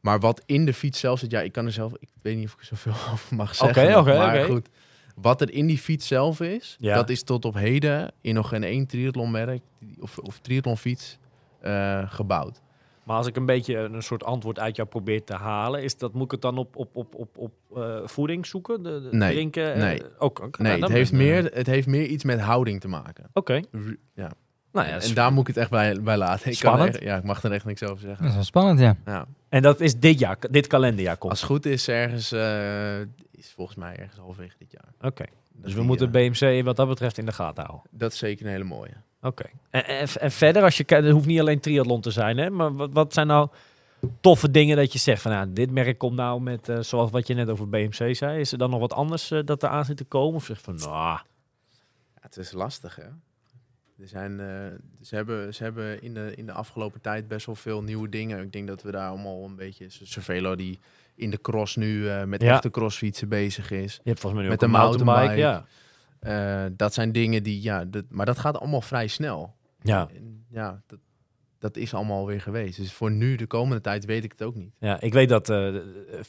D: Maar wat in de fiets zelf zit... Ja, ik kan er zelf... Ik weet niet of ik er zoveel over mag zeggen.
B: oké,
D: maar
B: oké.
D: goed. Wat er in die fiets zelf is,
B: Ja.
D: dat is tot op heden in nog geen één triathlonmerk die- of, of triathlonfiets eh, gebouwd.
B: Maar als ik een beetje een soort antwoord uit jou probeer te halen, is dat moet ik het dan op, op, op, op, op eh, voeding zoeken? De, de-
D: Nee,
B: Drinken? eh,
D: nee.
B: Ook, ook.
D: Nee,
B: Nou, dan
D: het, heeft
B: ben ik, eh,
D: meer, het heeft meer iets met houding te maken.
B: Oké.
D: Ru- Ja.
B: Nou ja,
D: en,
B: s-
D: daar moet ik het echt bij, bij laten. Ik Kan
B: Spannend.
D: er echt- ja, ik mag er echt niks over zeggen.
C: Dat is wel spannend, ja.
D: Ja.
B: en dat is dit jaar, dit kalenderjaar komt.
D: Als het goed is, ergens eh, is volgens mij ergens halverwege dit jaar.
B: Oké.
D: Dat
B: Dus we
D: die,
B: moeten
D: eh,
B: BMC wat dat betreft in de gaten houden.
D: dat is zeker een hele mooie.
B: Oké. En, en, en verder, als je kijkt, het hoeft niet alleen triathlon te zijn, hè? Maar wat, wat zijn nou toffe dingen dat je zegt van, nou, dit merk komt nou met, eh, zoals wat je net over BMC zei, is er dan nog wat anders eh, dat er aan zit te komen? Of zeg je van, nou,
D: Ja, het is lastig, hè? Er zijn, eh, ze hebben, ze hebben in, de, in de afgelopen tijd best wel veel nieuwe dingen. Ik denk dat we daar allemaal een beetje... Cervelo die in de cross nu eh, met
B: Ja.
D: echte crossfietsen bezig is.
B: je hebt volgens mij nu
D: Met
B: ook een
D: een
B: mountainbike.
D: mountainbike. Eh, dat zijn dingen die... Ja, dat, maar dat gaat allemaal vrij snel.
B: Ja. ja.
D: En ja, dat, dat is allemaal weer geweest. Dus voor nu, de komende tijd, weet ik het ook niet.
B: Ja, ik weet dat eh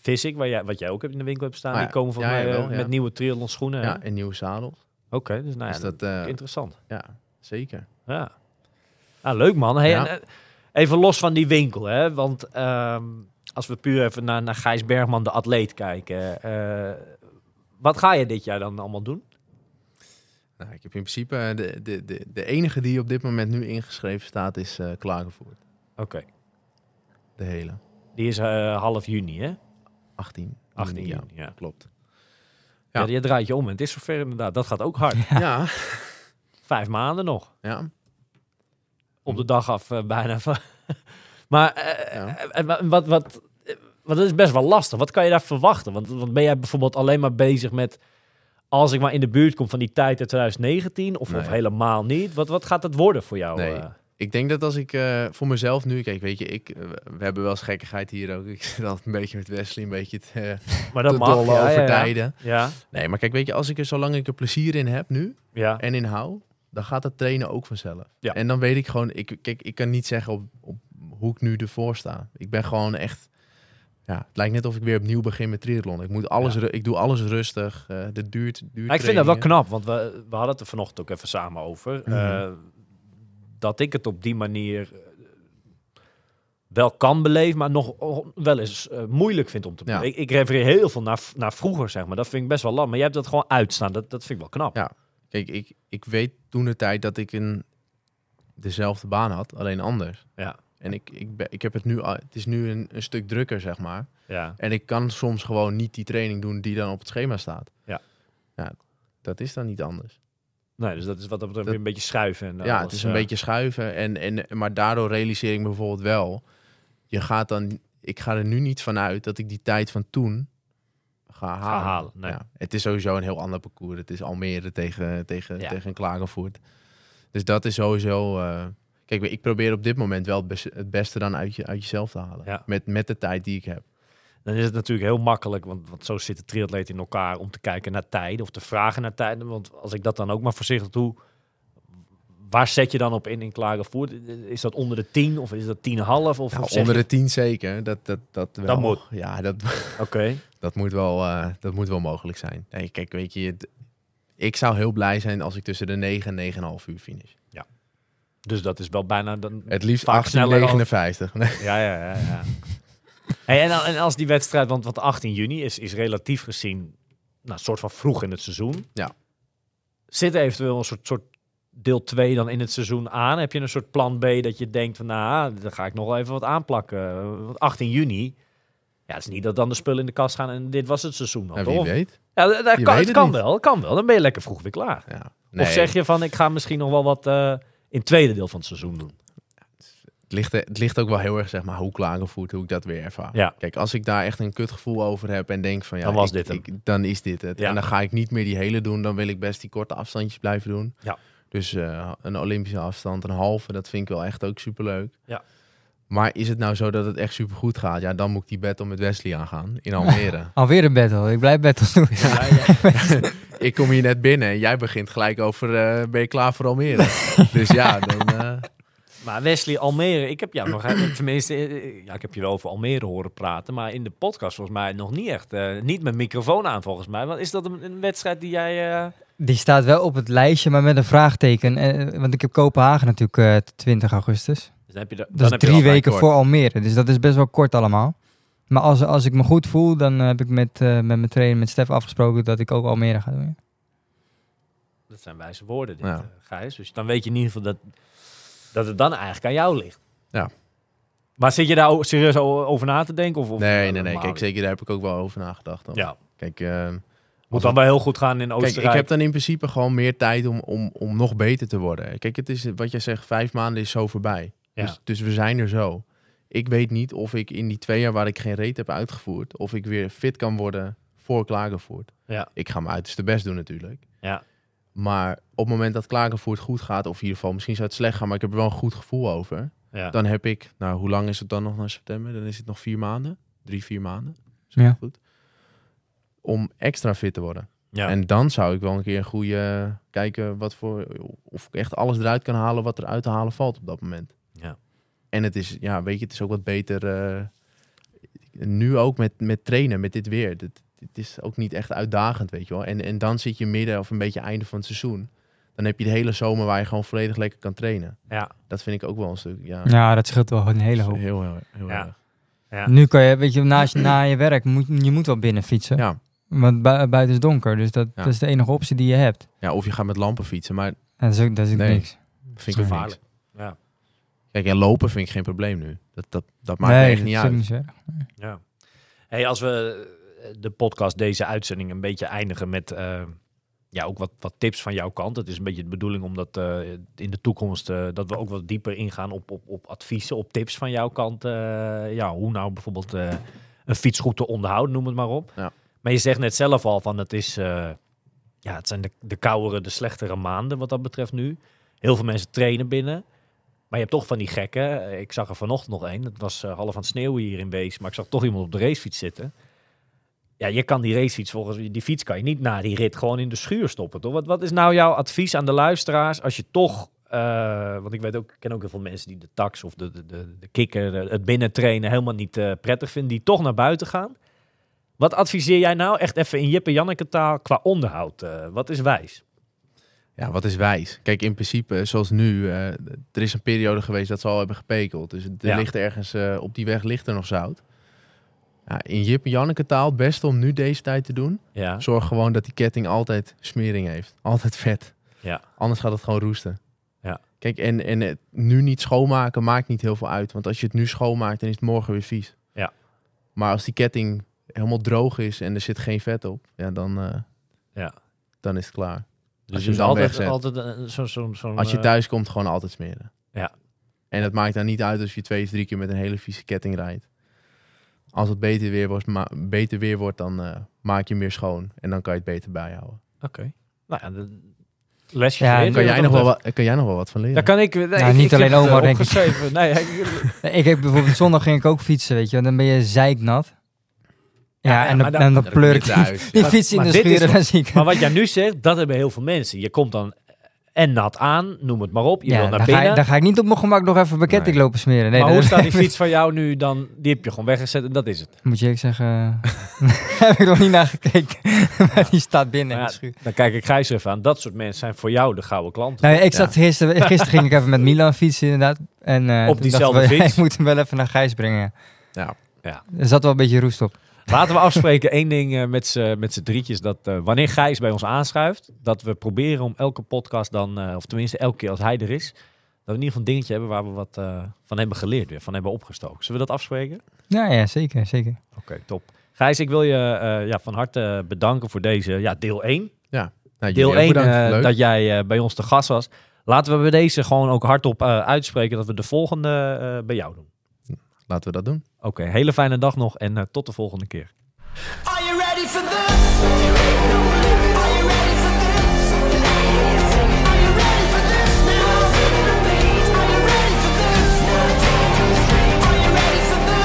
B: Physic, waar jij, wat jij ook in de winkel hebt staan,
D: Ah,
B: die
D: ja.
B: komen volgens
D: Ja,
B: mij eh,
D: jawel, ja.
B: met nieuwe triathlon schoenen.
D: Ja,
B: hè?
D: en nieuwe zadels.
B: Oké, dus nou ja,
D: dus dat, eh,
B: interessant.
D: ja, zeker.
B: Ja. Ah, leuk man. Hey,
D: Ja.
B: en, eh, even los van die winkel, hè? want ehm, als we puur even naar, naar Gijs Bergman, de atleet, kijken. eh, wat ga je dit jaar dan allemaal doen?
D: Nou, ik heb in principe eh, de, de, de, de enige die op dit moment nu ingeschreven staat, is eh Klagenvoort.
B: Oké,
D: De hele.
B: die is eh, half juni, hè?
D: 18.
B: 18
D: Ja,
B: juni, ja.
D: klopt.
B: Ja.
D: Ja.
B: je draait je om en het is zover inderdaad. Dat gaat ook hard.
D: Ja. ja,
B: Vijf maanden nog. Op de dag af eh, bijna. van- maar eh,
D: Hm. Ja.
B: eh, eh, wa- wat, wat, eh, want dat is best wel lastig. Wat kan je daar verwachten? Want, want ben jij bijvoorbeeld alleen maar bezig met... als ik maar in de buurt kom van die tijd uit 2019... of, of
D: Nee.
B: helemaal niet? Wat, wat gaat dat worden voor jou?
D: Nee.
B: eh?
D: Ik denk dat als ik eh, voor mezelf nu... Kijk, weet je, ik, eh, we hebben wel eens gekkigheid hier ook. Ik zit altijd een beetje met Wesley, een beetje te, eh,
B: maar dat
D: te
B: mag.
D: dollen
B: Ja,
D: over
B: ja, ja.
D: tijden.
B: ja,
D: Nee, maar kijk, weet je, als ik er zolang ik er plezier in heb nu...
B: ja.
D: en in hou, dan gaat het trainen ook vanzelf.
B: Ja.
D: En dan weet ik gewoon, ik, kijk, ik kan niet zeggen op, op hoe ik nu ervoor sta. Ik ben gewoon echt, ja, het lijkt net of ik weer opnieuw begin met triathlon. Ik, moet alles,
B: Ja.
D: ru- ik doe alles rustig, eh dit duurt, duurt
B: Maar ik vind dat wel
D: trainingen.
B: knap, want we, we hadden het er vanochtend ook even samen over.
D: Mhm.
B: eh, dat ik het op die manier eh, wel kan beleven, maar nog o- wel eens eh, moeilijk vind om te
D: Ja.
B: beleven. Ik, ik refereer heel veel naar, v- naar vroeger, zeg maar. Dat vind ik best wel lam. Maar jij hebt dat gewoon uitstaan. Dat, dat vind ik wel knap.
D: Ja. Kijk, ik, ik weet toen de tijd dat ik een, dezelfde baan had, alleen anders.
B: Ja.
D: En ik, ik, ben, ik heb het nu, al- het is nu een, een stuk drukker, zeg maar.
B: Ja.
D: En ik kan soms gewoon niet die training doen die dan op het schema staat.
B: Ja.
D: ja dat is dan niet anders.
B: Nee, dus dat is wat dat betreft
D: Dat-
B: weer een beetje schuiven. En
D: ja,
B: alles,
D: het is een
B: eh.
D: beetje schuiven. En, en, maar daardoor realiseer ik me bijvoorbeeld wel. Je gaat dan, ik ga er nu niet vanuit dat ik die tijd van toen ga halen.
B: halen, nee.
D: ja, het is sowieso een heel ander parcours. Het is Almere tegen, tegen,
B: Ja.
D: tegen Klagenvoort. Dus dat is sowieso. eh, kijk, ik probeer op dit moment wel het, bes- het beste dan uit, je, uit jezelf te halen.
B: Ja.
D: Met, met de tijd die ik heb.
B: Dan is het natuurlijk heel makkelijk, want, want zo zitten triatleten in elkaar om te kijken naar tijden of te vragen naar tijden. Want als ik dat dan ook maar voorzichtig doe, waar zet je dan op in in Klagenvoort? Is dat onder de 10 of is dat 10,5? Of, of
D: Nou,
B: zeg
D: onder
B: je-
D: de tien zeker. Dat, dat, dat, wel.
B: moet.
D: Ja, dat,
B: Oké,
D: Dat moet wel, eh, dat moet wel mogelijk zijn. Nee, kijk, weet je, het- ik zou heel blij zijn als ik tussen de 9 en 9,5 uur finish.
B: dus dat is wel bijna... Dan...
D: Het liefst
B: Vaak
D: 18,
B: sneller dan-
D: 59. Nee.
B: Ja, ja, ja. ja. hey, en, al- en als die wedstrijd, want wat 18 juni is, is relatief gezien nou, een soort van vroeg in het seizoen.
D: Ja.
B: Zit er eventueel een soort, soort deel 2 dan in het seizoen aan? Heb je een soort plan B dat je denkt van, nou, daar ga ik nog wel even wat aanplakken. Want 18 juni, ja, het is niet dat dan de spullen in de kast gaan en dit was het seizoen dan,
D: Nou, wie
B: toch?
D: weet.
B: Ja, dat, dat
D: Je
B: kan, het
D: weet het
B: kan
D: niet.
B: wel, het kan wel. Dan ben je lekker vroeg weer klaar.
D: Ja. Nee,
B: Of zeg je van, ik ga misschien nog wel wat eh, in het tweede deel van het seizoen doen.
D: het, ligt, het ligt ook wel heel erg, zeg maar, hoe klagenvoerd, hoe ik dat weer ervaar.
B: Ja.
D: Kijk, als ik daar echt een kutgevoel over heb en denk van, ja,
B: Dan was
D: ik-
B: dit hem.
D: ik, dan is dit het.
B: Ja.
D: En dan ga ik niet meer die hele doen, dan wil ik best die korte afstandjes blijven doen.
B: Ja.
D: Dus eh, een Olympische afstand, een halve, dat vind ik wel echt ook superleuk.
B: Ja.
D: Maar is het nou zo dat het echt supergoed gaat? Ja, dan moet ik die battle met Wesley aangaan in Almere.
C: Alweer een battle. Ik blijf battles doen.
D: Ja, ja. ik kom hier net binnen en jij begint gelijk over eh, ben je klaar voor Almere? dus ja, dan... eh,
B: Maar Wesley Almere, ik heb jou nog, tenminste, eh, ja, ik heb je wel over Almere horen praten, maar in de podcast volgens mij nog niet echt, eh, niet met microfoon aan volgens mij. Want is dat een, een wedstrijd die jij... eh,
C: Die staat wel op het lijstje, maar met een vraagteken. Eh, want ik heb Kopenhagen natuurlijk eh, 20 augustus.
B: dus dan heb je de- dan
C: Dat is
B: heb je
C: drie
B: wel-
C: weken
D: kort.
C: voor Almere. Dus dat is best wel kort allemaal. Maar als, als ik me goed voel, dan eh, heb ik met, eh, met mijn trainer, met Stef afgesproken dat ik ook Almere ga doen. ja.
B: Dat zijn wijze woorden, dit,
D: Ja.
B: eh, Gijs. Dus dan weet je in ieder geval dat, dat het dan eigenlijk aan jou ligt.
D: Ja.
B: Maar zit je daar o- serieus o- over na te denken? Of, of
D: nee,
B: eh,
D: nee, nee.
B: normaal?
D: Kijk, zeker daar heb ik ook wel over nagedacht. Dan.
B: Ja,
D: Kijk, eh,
B: moet dan wel heel goed gaan in Oostenrijk.
D: Kijk, ik heb dan in principe gewoon meer tijd om, om, om nog beter te worden. Kijk, het is wat jij zegt, vijf maanden is zo voorbij.
B: Ja.
D: Dus, dus we zijn er zo. Ik weet niet of ik in die twee jaar waar ik geen reet heb uitgevoerd, of ik weer fit kan worden voor Klagenvoort.
B: Ja.
D: Ik ga mijn uiterste best doen natuurlijk.
B: Ja.
D: Maar op het moment dat Klagenvoort goed gaat, of in ieder geval misschien zou het slecht gaan, maar ik heb er wel een goed gevoel over.
B: ja.
D: Dan heb ik, nou hoe lang is het dan nog naar september? Dan is het nog vier maanden, drie, vier maanden. Zeg
C: Ja.
D: ik goed. Om extra fit te worden.
B: ja.
D: En dan zou ik wel een keer een goede eh, kijken wat voor of ik echt alles eruit kan halen wat er uit te halen valt op dat moment.
B: Ja.
D: En het is, ja, weet je, het is ook wat beter. eh, nu ook met, met trainen, met dit weer. Het, het is ook niet echt uitdagend, weet je wel. En, en dan zit je midden of een beetje einde van het seizoen. Dan heb je de hele zomer waar je gewoon volledig lekker kan trainen.
B: Ja.
D: Dat vind ik ook wel een stuk. Ja,
C: Ja, dat scheelt wel een hele
D: heel,
C: hoop.
D: heel, erg- heel
B: Ja.
D: erg.
B: Ja.
C: Nu kan je, weet je, na, na je werk, moet, je moet wel binnen fietsen.
D: Ja.
C: Want bui- buiten is donker, dus dat,
D: Ja.
C: dat is de enige optie die je hebt.
D: ja, of je gaat met lampen fietsen, maar
C: En dat is ook, dat is ook
D: Nee.
C: niks.
D: vind ik ook niks.
B: Gevaarlijk. Ja.
D: Kijk, en lopen vind ik geen probleem nu. Dat, dat, dat maakt me
C: nee,
D: echt niet
C: dat is
D: uit.
C: ook niet zo erg.
B: Ja. Hey, als we eh, de podcast, deze uitzending, een beetje eindigen met eh, ja, ook wat, wat tips van jouw kant. Het is een beetje de bedoeling om dat eh, in de toekomst, eh, dat we ook wat dieper ingaan op, op, op adviezen, op tips van jouw kant. eh, ja, hoe nou bijvoorbeeld eh, een fiets goed te onderhouden, noem het maar op.
D: Ja.
B: Maar je zegt net zelf al van het is, eh, ja, het zijn de, de koudere, de slechtere maanden wat dat betreft nu. Heel veel mensen trainen binnen. Maar je hebt toch van die gekken. Ik zag er vanochtend nog één. Het was eh, half aan het sneeuwen hier in Wees. Maar ik zag toch iemand op de racefiets zitten. Ja, je kan die racefiets volgens die fiets kan je niet na die rit gewoon in de schuur stoppen, toch? Wat, wat is nou jouw advies aan de luisteraars als je toch, eh, want ik weet ook, ik ken ook heel veel mensen die de tax of de, de, de, de kikker, eh, het binnentrainen helemaal niet eh, prettig vinden, die toch naar buiten gaan. Wat adviseer jij nou echt even in Jip en Janneke taal qua onderhoud? eh, wat is wijs?
D: Ja, wat is wijs? Kijk, in principe, zoals nu, eh, er is een periode geweest dat ze al hebben gepekeld. Dus er
B: Ja.
D: ligt ergens, eh, op die weg ligt er nog zout. Ja, in Jip en Janneke taal, het beste om nu deze tijd te doen.
B: Ja,
D: Zorg gewoon dat die ketting altijd smering heeft. Altijd vet.
B: Ja.
D: Anders gaat het gewoon roesten.
B: Ja.
D: Kijk, en, en het nu niet schoonmaken maakt niet heel veel uit. Want als je het nu schoonmaakt, dan is het morgen weer vies.
B: Ja.
D: Maar als die ketting helemaal droog is en er zit geen vet op, ja, dan, eh,
B: Ja.
D: dan is het klaar.
B: dus
D: je hem
B: je
D: dan
B: altijd,
D: wegzet.
B: altijd eh, zo'n... Zo, zo,
D: Als je thuis komt, gewoon altijd smeren.
B: Ja.
D: En dat maakt dan niet uit als je twee of drie keer met een hele vieze ketting rijdt. Als het beter weer wordt, ma- beter weer wordt dan eh, maak je meer schoon. En dan kan je het beter bijhouden.
B: Oké. Nou ja, de- lesje
C: Ja,
B: geleerd.
C: en
D: Kan jij,
B: Wat
D: nog
B: dat
D: wel
B: betreft.
D: wat, kan jij nog wel wat van leren?
B: Daar kan ik... nee,
C: Nou,
B: ik-
C: niet
B: ik
C: alleen
B: heb het, eh,
C: Omar, denk ik.
B: opgeschreven. Nee, ik-
C: Ik heb bijvoorbeeld zondag ging ik ook fietsen, weet je. wel. Dan ben je zeiknat.
B: Ja,
C: Ja,
B: ja,
C: en, dan,
B: maar dan-
C: en dan
D: Ja, dat
C: pleur ik
D: komt
C: die,
D: niet uit.
C: die
B: Maar-
C: fiets in
B: maar
C: de
B: dit is
C: schuur en
B: toch-
C: dan zie ik
B: maar wat jij nu zegt, dat hebben heel veel mensen. Je komt dan en nat aan, noem het maar op. Je wil
C: Ja,
B: naar
C: dan
B: binnen.
C: ga, ik, dan ga ik niet op mijn gemak nog even beketting
D: Nee.
C: lopen smeren. Nee,
B: maar
C: dat-
B: hoe staat die fiets van jou nu dan? Die heb je gewoon weggezet en dat is het.
C: Moet je ik zeggen, daar heb ik nog niet naar gekeken. maar die staat binnen in
B: Maar
C: de
B: ja,
C: schuur.
B: dan kijk ik Gijs even aan. Dat soort mensen zijn voor jou de gouden klanten.
C: Nou, ik zat gisteren, gisteren ging ik even met Milan fietsen inderdaad. En, eh, toen dacht
B: diezelfde
C: ik wel,
B: fiets?
C: Ik moet hem wel even naar Gijs brengen.
D: Ja.
C: Er zat wel een beetje roest op.
B: Laten we afspreken één ding eh, met z'n met z'n drietjes. Dat eh, wanneer Gijs bij ons aanschuift, dat we proberen om elke podcast dan, eh, of tenminste elke keer als hij er is, dat we in ieder geval een dingetje hebben waar we wat eh, van hebben geleerd weer, van hebben opgestoken. Zullen we dat afspreken?
C: Ja, ja, zeker, zeker.
B: Oké, top. Gijs, ik wil je eh, ja, van harte bedanken voor deze ja, deel 1.
D: Nou, jullie
B: Deel
D: ook
B: 1
D: bedankt.
B: eh,
D: Leuk.
B: dat jij eh, bij ons te gast was. Laten we bij deze gewoon ook hardop eh, uitspreken dat we de volgende eh, bij jou doen.
D: Laten we dat doen.
B: Oké, hele fijne dag nog en eh, tot de volgende keer.
A: Are you ready for this? Are you ready for this? Are you ready for this now? Are you ready for this?